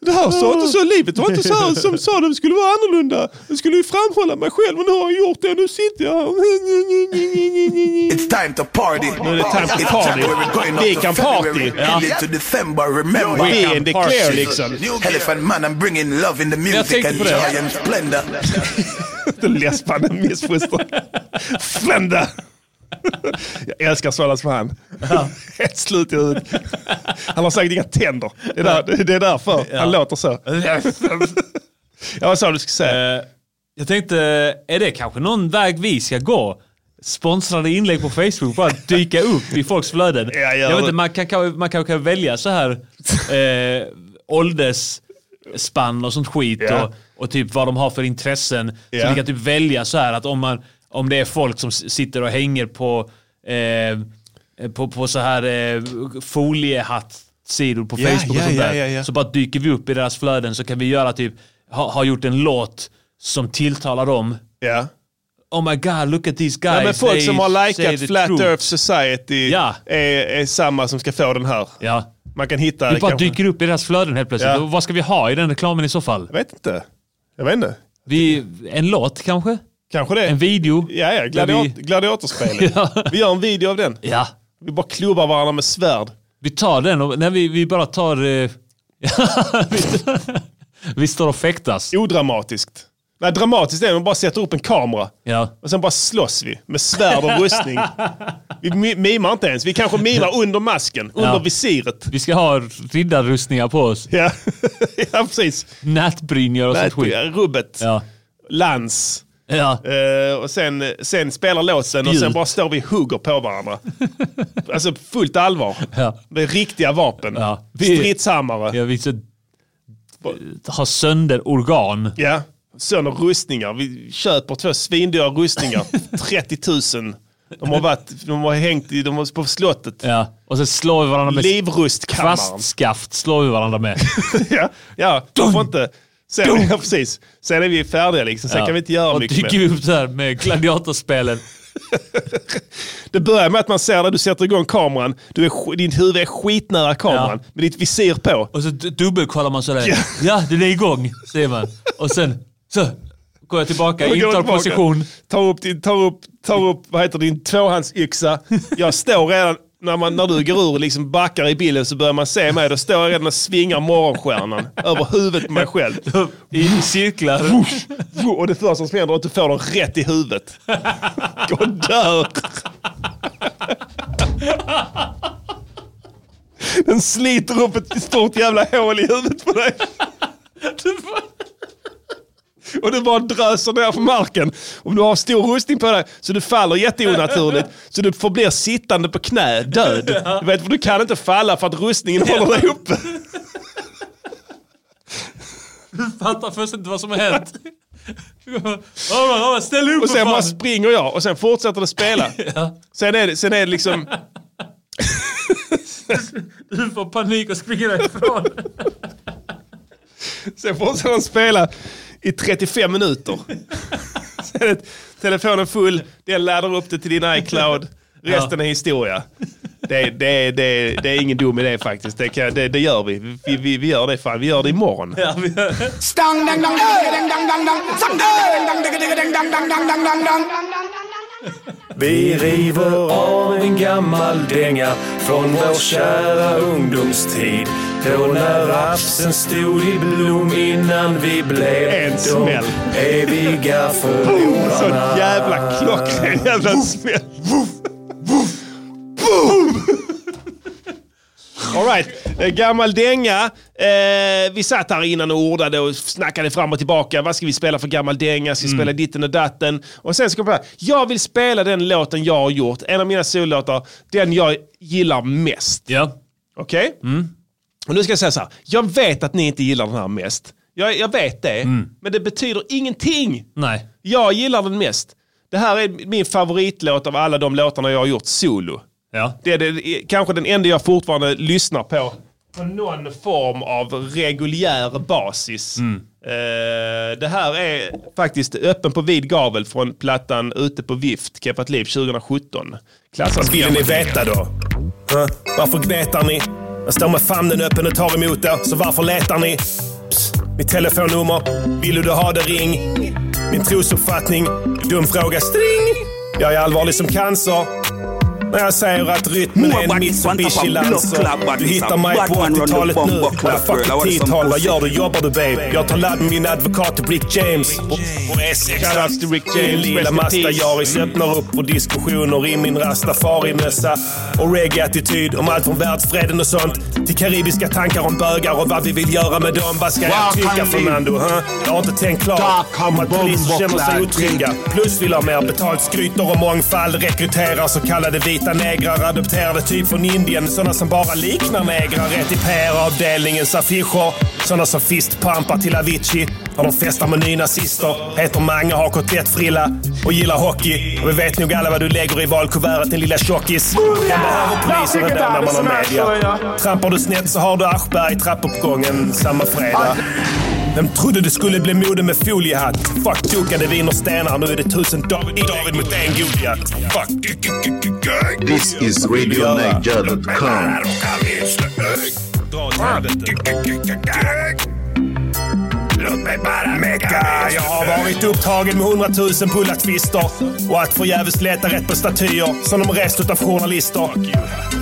S1: Det här sa inte så, livet var inte så här som sa det skulle vara annorlunda. Jag skulle ju framhålla mig själv och nu har jag gjort det och nu sitter jag här.
S6: It's time to party.
S1: Nu är det time to
S6: It's
S1: party.
S6: January going up
S1: Vi
S6: to
S1: kan
S6: February,
S1: party. Ja.
S6: early to December, remember.
S1: Vi är en declare liksom.
S6: Elephant man, I'm bringing love in the music
S1: tänkte
S6: and
S1: på det.
S6: joy and splendor.
S1: Den läspande missfostrad. Flända! Jag älskar sådana som han. Helt slut i huvudet. Han har säkert inga tänder. Det är, där, det är därför han låter så. Ja, vad sa du skulle
S4: Eh,
S1: säga?
S4: jag tänkte, är det kanske någon väg vi ska gå? Sponsrade inlägg på Facebook, bara dyka upp i folks flöden.
S1: Ja, gör
S4: jag vet
S1: det.
S4: inte, man kan kanske man kan, kan välja så här eh, åldersspann och sånt skit
S1: Ja.
S4: och, och typ vad de har för intressen. Så
S1: Ja.
S4: vi kan typ välja så här att om, man, om det är folk som s- sitter och hänger på, eh, på, på så här eh, foliehatt-sidor på
S1: Ja,
S4: Facebook
S1: ja,
S4: och sånt
S1: ja,
S4: där.
S1: ja, ja.
S4: Så bara dyker vi upp i deras flöden så kan vi göra typ, ha, ha gjort en låt som tilltalar dem.
S1: Ja.
S4: Oh my god, look at these guys.
S1: Ja, men folk
S4: They
S1: som har
S4: say the
S1: likat Flat
S4: truth.
S1: Earth Society
S4: Ja.
S1: är, är samma som ska få den här.
S4: Ja.
S1: Man kan hitta...
S4: Vi bara
S1: kanske-
S4: dyker upp i deras flöden helt plötsligt.
S1: Ja.
S4: Och Vad ska vi ha i den reklamen i så fall?
S1: Jag vet inte. Jag vet inte.
S4: Vi, en låt kanske?
S1: Kanske det.
S4: En video?
S1: Ja, ja.
S4: Där
S1: Gladiat-
S4: vi-
S1: Gladiatorspelet. Vi gör en video av den.
S4: Ja.
S1: Vi bara klubbar varandra med svärd.
S4: Vi tar den och när vi, vi bara tar... eh, vi, vi står och fäktas.
S1: Odramatiskt. Nej, dramatiskt är det. Man bara sätter upp en kamera.
S4: Ja.
S1: Och sen bara slåss vi med svärd och rustning. vi mi- mimar inte ens. Vi kanske mimar under masken,
S4: Ja.
S1: under visiret.
S4: Vi ska ha riddarrustningar på oss.
S1: Ja, ja precis.
S4: Nätbrynjor och sånt skit.
S1: Nät- Rubbet. Lans. Eh, och sen, sen spelar låten och sen
S4: Spjut.
S1: bara står vi och hugger på varandra. alltså fullt allvar. Med riktiga vapen.
S4: Vi-
S1: Stridshammare.
S4: Ja, vi så har sönder organ.
S1: Ja, sönder rustningar. Vi köper två svindyra rustningar. 30 000. De har, varit, de har hängt i, de har på slottet.
S4: Ja. Och så slår vi varandra med...
S1: Livrustkammaren.
S4: Kvastskaft slår vi varandå med.
S1: ja, ja de får inte. Sen, ja, precis. sen är vi färdiga liksom. Sen
S4: Ja.
S1: kan vi inte göra
S4: och
S1: mycket
S4: dyker
S1: mer.
S4: vi upp där med gladiatorspelen.
S1: Det börjar med att man ser det, du sätter igång kameran, du är, sk- ditt huvud är skitnära kameran med ditt visir på.
S4: Och så du- dubbelkollar man sådär. Ja. ja, den är igång, säger man. Och sen så går jag tillbaka,
S1: Och går
S4: intar
S1: tillbaka,
S4: position.
S1: Tar upp, din, tar upp, tar upp vad heter det, din tvåhandsyxa. Jag står redan, när, man, när du går ur och liksom backar i bilden så börjar man se mig. Då står jag redan och svingar morgonstjärnan över huvudet på mig själv.
S4: I cirklar.
S1: Och det första som händer är att du får den rätt i huvudet. Och dör. Den sliter upp ett stort jävla hål i huvudet på dig. Och du bara dröser ner på marken. Om du har stor rustning på dig så du faller jätteonaturligt. Så du förblir sittande på knä, död. Du vet, för du kan inte falla för att rustningen håller dig uppe.
S4: Fattar först inte vad som har hänt. All right, all right, ställ upp
S1: Och
S4: för
S1: sen bara
S4: fan.
S1: springer jag och sen fortsätter det spela. Sen är det, sen är det liksom...
S4: Du får panik och springer därifrån.
S1: Sen fortsätter han spela i 35 minuter. Sen är telefonen full, den laddar upp det till din iCloud. Resten är historia. Det, det, det, det är ingen dum idé faktiskt. Det, kan, det, det gör vi. Vi, vi. vi gör det fan. Vi gör det imorgon.
S3: Stang dang dang digga dang dang dang dang. Sam dang dang digga digga dang dang dang dang dang dang dang.
S20: Vi river av en gammal dänga från vår kära ungdomstid. Då när rapsen stod i blom innan vi blev en
S1: smäll.
S20: de eviga
S1: Boom! Så
S20: förlorarna.
S1: jävla klockren jävla smäll. Alright, Eh, gammal dänga. Eh, vi satt här innan och ordade och snackade fram och tillbaka. Vad ska vi spela för gammal dänga? Ska vi spela ditten och datten? Och sen så kom jag på det här. jag vill spela den låten jag har gjort. En av mina sollåtar. Den jag gillar mest.
S4: Ja.
S1: Okej? Och nu ska jag säga så här. Jag vet att ni inte gillar den här mest. Jag, jag vet det. Men det betyder ingenting.
S4: Nej.
S1: Jag gillar den mest. Det här är min favoritlåt av alla de låtarna jag har gjort solo.
S4: Ja.
S1: Det är det, kanske den enda jag fortfarande lyssnar på på någon form av reguljär basis.
S5: Mm.
S1: Eh, det här är faktiskt öppen på vid gavel från plattan Ute på vift, Keppat liv 2017. Klassas
S5: Vill ni veta då? Huh? Varför gnetar ni? Jag står med famnen öppen och tar emot er, så varför letar ni? Psst, mitt telefonnummer. Vill du ha det ring? Min trosuppfattning. Dum fråga. String! Jag är allvarlig som cancer. När jag säger att rytmen är en Mitsubishi Lancer. Du hittar mig på 80-talet nu. Motherfucking 10-tal. Vad gör du? Jobbar du babe? Jag tar ladd med min advokat Rick James. Och E6. Rick
S1: James,
S5: Lilla
S1: rest in peace.
S5: Masta-Jaris öppnar upp för diskussioner i min rastafari-mössa. Och reggae-attityd om allt från världsfreden och sånt till karibiska tankar om bögar och vad vi vill göra med dem. Vad ska jag
S7: Welcome
S5: tycka,
S7: in.
S5: Fernando? Huh? Jag har inte tänkt klart. Om att polisen känner sig otrygga. Plus vill ha mer betalt, skryter om mångfald, rekryterar så kallade vita negrar, adopterade typ från Indien. Sådana som bara liknar negrar, rätt i PR-avdelningens affischer. Sådana som fistpampar till Avicii. Har de festar med nynazister, heter Mange, har kotlettfrilla och gillar hockey. Och vi vet nog alla vad du lägger i valkuvertet din lilla tjockis. Man behöver polisen redan när man har media. Trampar du snett så har du Aschberg i trappuppgången samma fredag. Vem trodde du skulle bli mode med foliehatt? Fuck dukade viner stenar, nu är det tusen David, David mot en Goliat. Fuck
S11: This is RadioNiger.com.
S5: Dra åt helvete. Låt
S21: mig bara mecka.
S1: Ja, Jag har varit upptagen med hundratusen pulla-twister och att förgäves leta rätt på statyer som de rest utav journalister.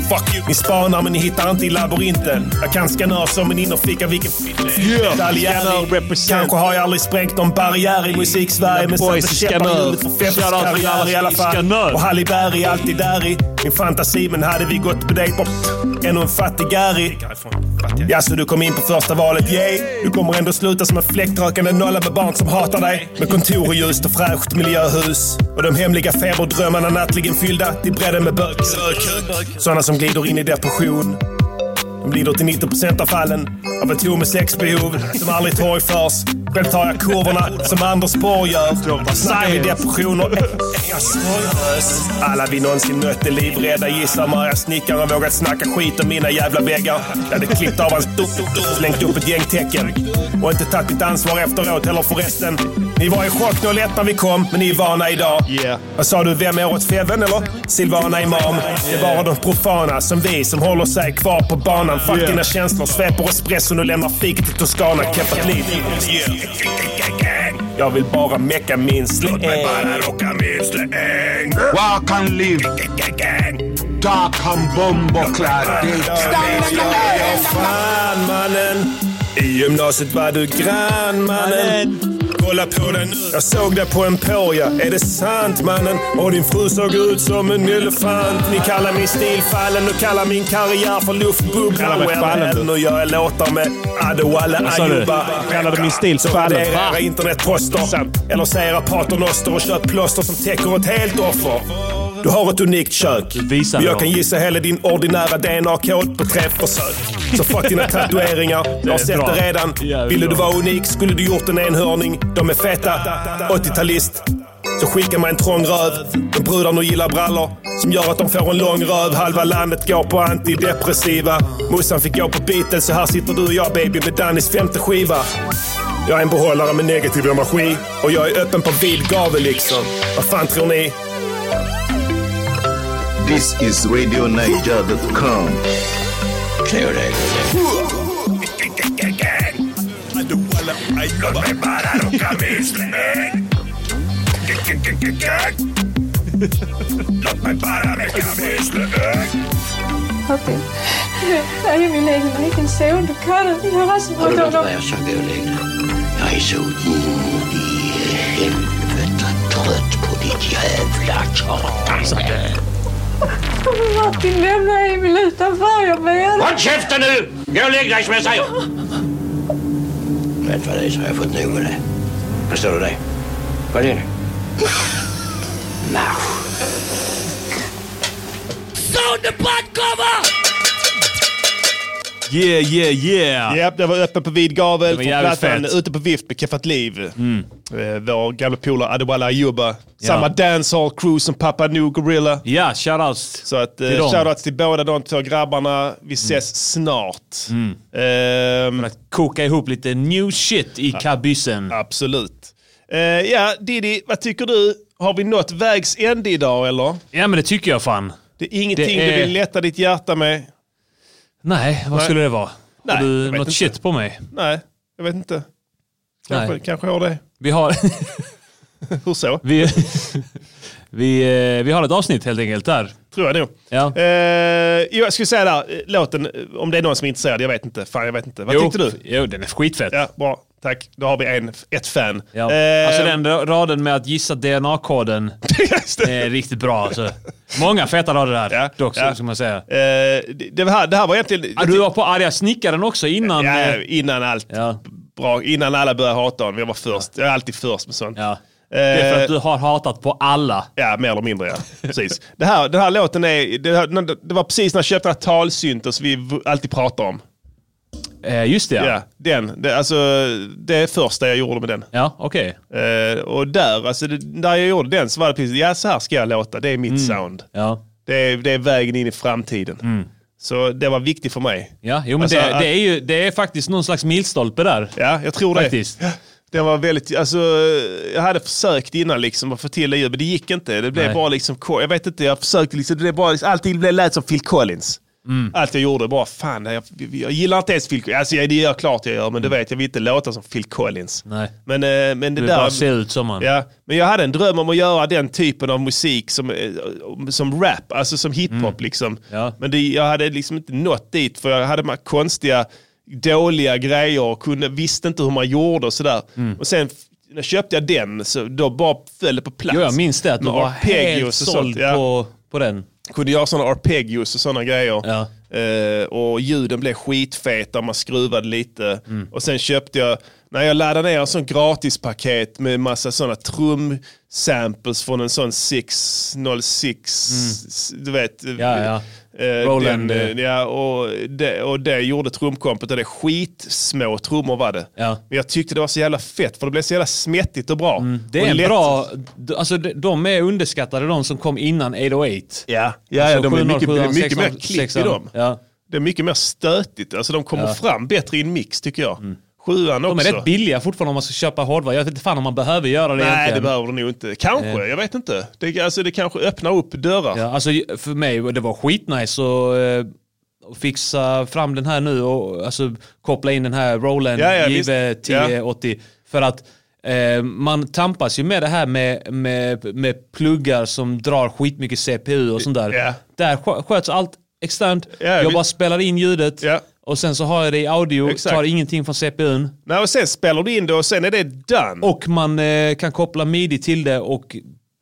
S1: Fuck you. Ni spanar men ni hittar inte i labyrinten. Jag kan skanör som en innerficka vilken...
S8: Yeah.
S1: Dalliani.
S8: Skanör represent.
S1: Kanske har jag aldrig sprängt någon barriär i musik-Sverige men
S8: Boys
S1: satte
S8: i
S1: käppar i
S8: skanör.
S1: hjulet för Feffes
S8: Shoutout till
S1: karriär i alla
S8: skanör.
S1: fall. Och Halle Berg är alltid där i min fantasi men hade vi gått på dejt på ännu en fattig Gary. Ja, så du kom in på första valet, yay! Du kommer ändå sluta som en fläktrökande nolla med barn som hatar dig. Med kontor och ljust och fräscht miljöhus. Och de hemliga feberdrömmarna nattligen fyllda till bredden med bök. Sådana som glider in i depression. De lider till 90% av fallen av ett med sexbehov som aldrig torgförs. Själv tar jag kurvorna som Anders Borg gör. Vad Snackar vi depression och är jag sorglös? Alla vi någonsin mött är livrädda gissar Maria Snickaren vågat snacka skit om mina jävla väggar. Jag hade klippt av hans dutt, slängt upp ett gäng tecken. Och inte tagit ditt ansvar efteråt heller förresten. Ni var i chock och lätt när vi kom, men ni är vana idag. Vad sa du? Vem är årets Feven eller? Silvana Imam. Det är bara de profana som vi som håller sig kvar på banan. Fuck
S21: Yeah.
S1: dina känslor, sveper espresson och lämnar fiket i Toscana. Keppat liv. Jag vill bara mecka min släng.
S5: Walk and live. Dark and
S1: Fan mannen, i gymnasiet var du grann mannen. Kolla på den nu. Jag såg dig på Emporia, är det sant mannen? Och din fru såg ut som en elefant. Ni kallar min stil fallen och kallar min karriär för
S8: Kallar mig fallen,
S1: luftbubblan.
S8: du.
S1: Och gör jag låtar med Adewale
S8: Vad sa du?
S1: Ayuba.
S8: Kallade min stil
S1: Så
S8: fallen.
S1: det är
S8: Va?
S1: era internetposter. Eller säger era paternoster och köp plåster som täcker ett helt offer. Du har ett unikt kök. Men jag
S22: då.
S1: kan gissa hela din ordinära DNA-kod på tre försök. Så fuck dina tatueringar.
S22: Det
S1: Jag
S22: är
S1: har sett
S22: bra.
S1: det redan.
S22: Jävligt
S1: Ville du
S22: bra.
S1: vara unik skulle du gjort en enhörning. De är feta. 80-talist. Så skicka mig en trång röv. De brudar nu gillar brallor. Som gör att de får en lång röv. Halva landet går på antidepressiva. Mossan fick gå på Beatles. Så här sitter du och jag baby med Dannys femte skiva. Jag är en behållare med negativ energi. Och jag är öppen på vid gavel liksom. Vad fan tror ni?
S11: This is RadioNiger.com. Clear
S5: Låt mig bara rocka min släng. Låt mig bara mecka min släng.
S23: Okej. Nej, jeg vil ikke. Jeg kan sæve, du kan det. Jeg har også
S24: Har du
S23: brugt
S24: lov
S23: om.
S24: at være så ødelæggende? Jeg er så ud i helvede trødt på dit jævla tårtkasserne.
S23: Martin, hvem er Emil udenfor? Jeg mener det.
S24: Hold kæft nu! Jeg vil ikke dig med sig. Vent for dig, så har jeg fået den ud af dig. Forstår du det? Gå ind. Nå.
S5: Soundepot kommer!
S8: Yeah, yeah, yeah. Japp, det var öppen på vid
S4: var
S8: gavel från
S4: jävligt
S8: plattan
S4: fett.
S8: Ute på vift med Keffat Liv. Mm. Vår gamla polare Adewale Ayuba.
S4: Ja.
S8: Samma dancehall crew som Papa New Gorilla.
S4: Ja, shoutouts.
S8: Så att, eh,
S4: Till dem.
S8: shoutouts till båda de två grabbarna.
S4: Mm.
S8: Vi ses snart. Mm. För
S4: att koka ihop lite new shit i kabyssen.
S8: Absolut. Eh, ja, Diddy, vad tycker du? Har vi nått vägs ände idag eller?
S4: Ja men det tycker jag fan.
S8: Det är ingenting
S4: Det är-
S8: du vill lätta ditt hjärta med?
S4: Nej, vad
S8: Nej.
S4: skulle det vara?
S8: Nej,
S4: har
S8: jag
S4: du
S8: vet
S4: något
S8: inte.
S4: shit på mig?
S8: Nej, jag vet inte. Kanske,
S4: Nej.
S8: kanske har det.
S4: Vi har...
S8: Hur så?
S4: Vi, vi, eh, vi har ett avsnitt helt enkelt där.
S8: Tror jag nog.
S4: Ja.
S8: Eh, jo, jag skulle säga där, eh, låten, eh, om det är någon som är intresserad, jag vet inte. Fan, jag vet inte. Vad
S4: Jo,
S8: tyckte du?
S4: Jo, den är skitfett.
S8: Ja, bra. Tack. Då har vi en, ett fan.
S4: Ja.
S8: Eh,
S4: alltså den ra- raden med att gissa DNA-koden är riktigt bra. Alltså. Många feta rader här dock,
S8: ja.
S4: ska man säga.
S8: eh, det, det, här, det här var egentligen...
S4: Ah, du var på arga snickaren också innan...
S8: Ja,
S4: eh,
S8: innan allt. Bra, innan alla började hata honom. Jag var först. Jag är alltid först med sånt. Eh,
S4: Det är för att du har hatat på alla.
S8: Ja, mer eller mindre ja. Precis. Det här, den här låten är, det, här, det var precis när jag köpte den här talsynten som vi v- alltid pratar om.
S4: Eh, just det ja.
S8: den. Det, alltså, det är första jag gjorde med den.
S4: Ja, okej.
S8: Eh, och där, alltså, det, när jag gjorde den så var det precis, ja så här ska jag låta, det är mitt
S4: Mm.
S8: sound.
S4: Ja.
S8: Det, är, det är vägen in i framtiden.
S4: Mm.
S8: Så det var viktigt för mig.
S4: Ja, jo, men
S8: Alltså,
S4: det,
S8: att-
S4: det, är ju, det är faktiskt någon slags milstolpe där.
S8: Ja, jag tror det.
S4: Faktiskt.
S8: Ja. Den var väldigt, alltså, jag hade försökt innan liksom att få till det ljud, men det gick inte. Det blev
S4: Nej.
S8: bara liksom, jag vet inte, jag försökte liksom, det blev bara, liksom, allting blev, lät som Phil Collins.
S4: Mm.
S1: Allt jag gjorde bara, fan, jag, jag gillar inte ens Phil Collins. Alltså, jag- det gör jag klart jag gör, men det vet jag, jag vill inte låta som Phil Collins.
S4: Mm. Nej.
S1: Men, eh, men det
S4: Du
S1: där...
S4: bara ser ut som han.
S1: Ja, men jag hade en dröm om att göra den typen av musik som, eh, som rap, alltså som hiphop
S4: Mm.
S1: liksom. Men det, jag hade liksom inte nått dit för jag hade de här konstiga, dåliga grejer och kunde, visste inte hur man gjorde och sådär.
S4: Mm.
S1: Och sen f- när köpte jag den så då bara föll det på plats.
S4: Jo, jag minns det, att du
S1: Med
S4: var
S1: arpeggios
S4: helt
S1: och
S4: såld
S1: sånt, ja.
S4: på, på den.
S1: Kunde göra sådana arpeggios och sådana grejer. Eh, och ljuden blev skitfeta, man skruvade lite.
S4: Mm.
S1: Och sen köpte jag, när jag laddade ner en sån gratispaket med massa sådana trumsamples från en sån 606, du vet.
S4: Mm. Ja, ja.
S1: eh,
S4: Roland,
S1: Den,
S4: eh.
S1: eh, ja, och, det, och det gjorde trumkompet och det är skitsmå trummor var det. Men jag tyckte det var så jävla fett för det blev så jävla smättigt och bra.
S4: Mm. Det
S1: och
S4: är
S1: lätt.
S4: en bra, d- alltså de- de är underskattade de som kom innan 808.
S1: Ja, Ja,
S4: Alltså,
S1: ja, de är mycket, det är mycket mer klipp i dem.
S4: Ja.
S1: Det är mycket mer stötigt. Alltså de kommer
S4: Ja. Mm.
S1: fram bättre i en mix tycker jag. Sjuan också.
S4: De är rätt billiga fortfarande om man ska köpa hårdvara. Jag vet inte fan om man behöver göra det
S1: Nej,
S4: egentligen.
S1: det behöver du nog inte. Kanske,
S4: Eh.
S1: jag vet inte. Det, alltså, det kanske öppnar upp dörrar.
S4: Ja, alltså för mig, det var skitnice att eh, att fixa fram den här nu och alltså, koppla in den här Roland
S1: Ja, ja, visst.
S4: JV1080. För att eh, man tampas ju med det här med, med, med pluggar som drar skitmycket CPU och sånt där.
S1: Ja.
S4: Där skö- sköts allt externt. jag
S1: visst.
S4: bara spelar in ljudet och sen så har jag det i audio,
S1: Exakt.
S4: tar ingenting från CPUn.
S1: Nej, och sen spelar du in det och sen är det done.
S4: Och man eh, kan koppla midi till det och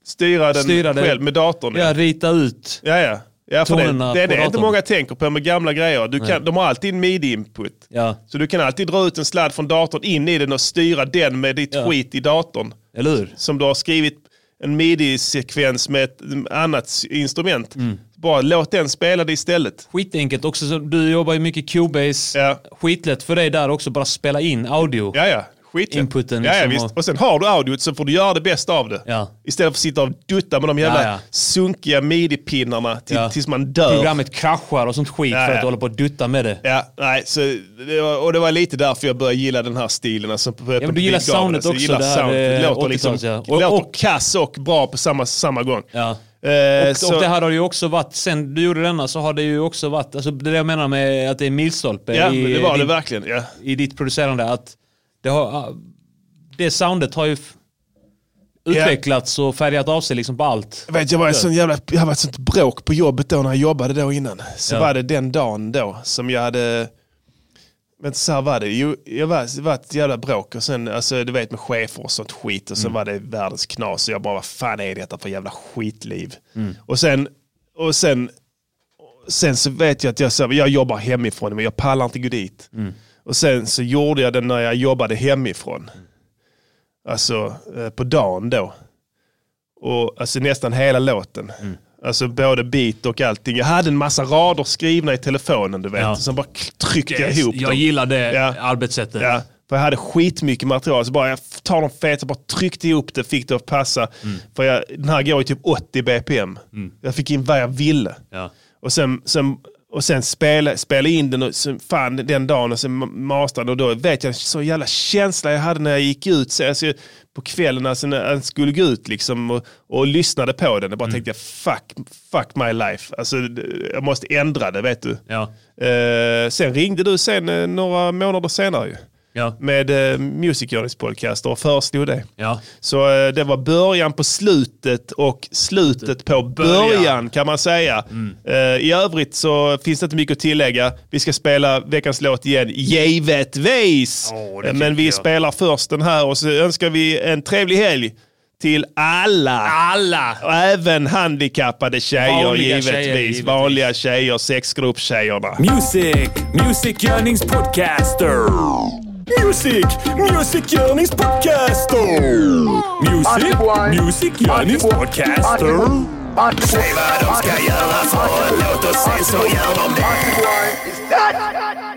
S1: Styra den
S4: styra det.
S1: själv med datorn.
S4: Ja, rita ut.
S1: Ja, ja. Ja, för det,
S4: Tonerna
S1: det är
S4: på
S1: det inte
S4: datorn.
S1: många tänker på med gamla grejer. Du
S4: Nej.
S1: kan, de har alltid en midi-input.
S4: Ja.
S1: Så du kan alltid dra ut en sladd från datorn in i den och styra den med ditt
S4: Ja.
S1: skit i datorn.
S4: Eller hur?
S1: Som du har skrivit en midi-sekvens med ett annat s- instrument.
S4: Mm.
S1: Bara låt den spela det istället.
S4: Skitenkelt också, så du jobbar ju mycket Cubase. Skitlätt för dig där också, bara spela in audio.
S1: Ja, ja. Skitlätt.
S4: Inputen
S1: Ja, ja,
S4: liksom
S1: visst. Och sen har du audiot så får du göra det bästa av det. Istället för att sitta och dutta med de jävla
S4: Ja, ja.
S1: sunkiga midi-pinnarna till,
S4: Ja.
S1: tills man dör.
S4: Programmet kraschar och sånt skit
S1: Ja,
S4: för
S1: ja.
S4: att du håller på att dutta med det.
S1: Ja, nej, så det var, och det var lite därför jag började gilla den här stilen. Alltså, på,
S4: men du gillar soundet också,
S1: Gillar
S4: det här,
S1: sound. det
S4: eh,
S1: låter, liksom,
S4: 80-tals, ja.
S1: och,
S4: Och-
S1: låter kass och bra på samma, samma gång. Eh,
S4: Och,
S1: så-
S4: och det här har ju också varit, sen du gjorde denna så har det ju också varit, alltså det är det jag menar med att det är en milstolpe
S1: Ja,
S4: i,
S1: men det var det
S4: din-
S1: verkligen. Ja.
S4: i ditt producerande. Att det, har, ah, det soundet har ju f- utvecklats och färgat av sig liksom på allt.
S1: Jag vet, jag var en sån jävla, jag var ett sånt bråk på jobbet då när jag jobbade då innan. Så
S4: Ja.
S1: var det den dagen då som jag hade, men så här var det, jo, jag var, det var ett jävla bråk och sen, alltså du vet med chefer och sånt skit och så
S4: Mm.
S1: var det världens knas och jag bara, vad fan är detta för jävla skitliv?
S4: Mm.
S1: Och sen, och sen, sen så vet jag att jag, så, här, jag jobbar hemifrån men jag pallar inte gå dit.
S4: Mm.
S1: Och sen så gjorde jag det när jag jobbade hemifrån. Alltså eh, på dagen då. Och alltså nästan hela låten.
S4: Mm.
S1: Alltså både beat och allting. Jag hade en massa rader skrivna i telefonen du vet.
S4: Ja.
S1: Och sen bara k- tryckte jag
S4: Yes,
S1: ihop
S4: jag
S1: dem.
S4: gillar det arbetssättet.
S1: Ja. För jag hade skitmycket material. Så bara jag f- tar de feta, bara tryckte ihop det, fick det att passa.
S4: Mm.
S1: För jag, den här går ju typ 80 bpm. Jag fick in vad jag ville. Och sen, sen, och sen spela, spela in den och sen, fan, den dagen och sen masterade och då vet jag så jävla känsla jag hade när jag gick ut så, alltså, på kvällen alltså, när jag skulle gå ut liksom, och, och lyssnade på den. Jag bara tänkte fuck, fuck my life. Alltså, d- jag måste ändra det vet du. Eh, sen ringde du sen eh, några månader senare ju. Med eh, Music Journeys podcast och föreslog det. Så eh, det var början på slutet och slutet på början kan man säga.
S9: Mm.
S1: Eh, I övrigt så finns det inte mycket att tillägga. Vi ska spela veckans låt igen, givetvis. Eh, Men vi spelar först den här och så önskar vi en trevlig helg till alla.
S4: Alla!
S1: Och även handikappade tjejer
S9: Vanliga
S1: givetvis.
S9: tjejer, givetvis.
S1: Vanliga tjejer, sexgrupptjejerna.
S9: Music, Music Yearnings Podcaster. Music, Music Yearnings Podcaster. Music, Music Yearnings Podcaster.
S5: Säg vad de ska göra för en låt och sen så gör de det.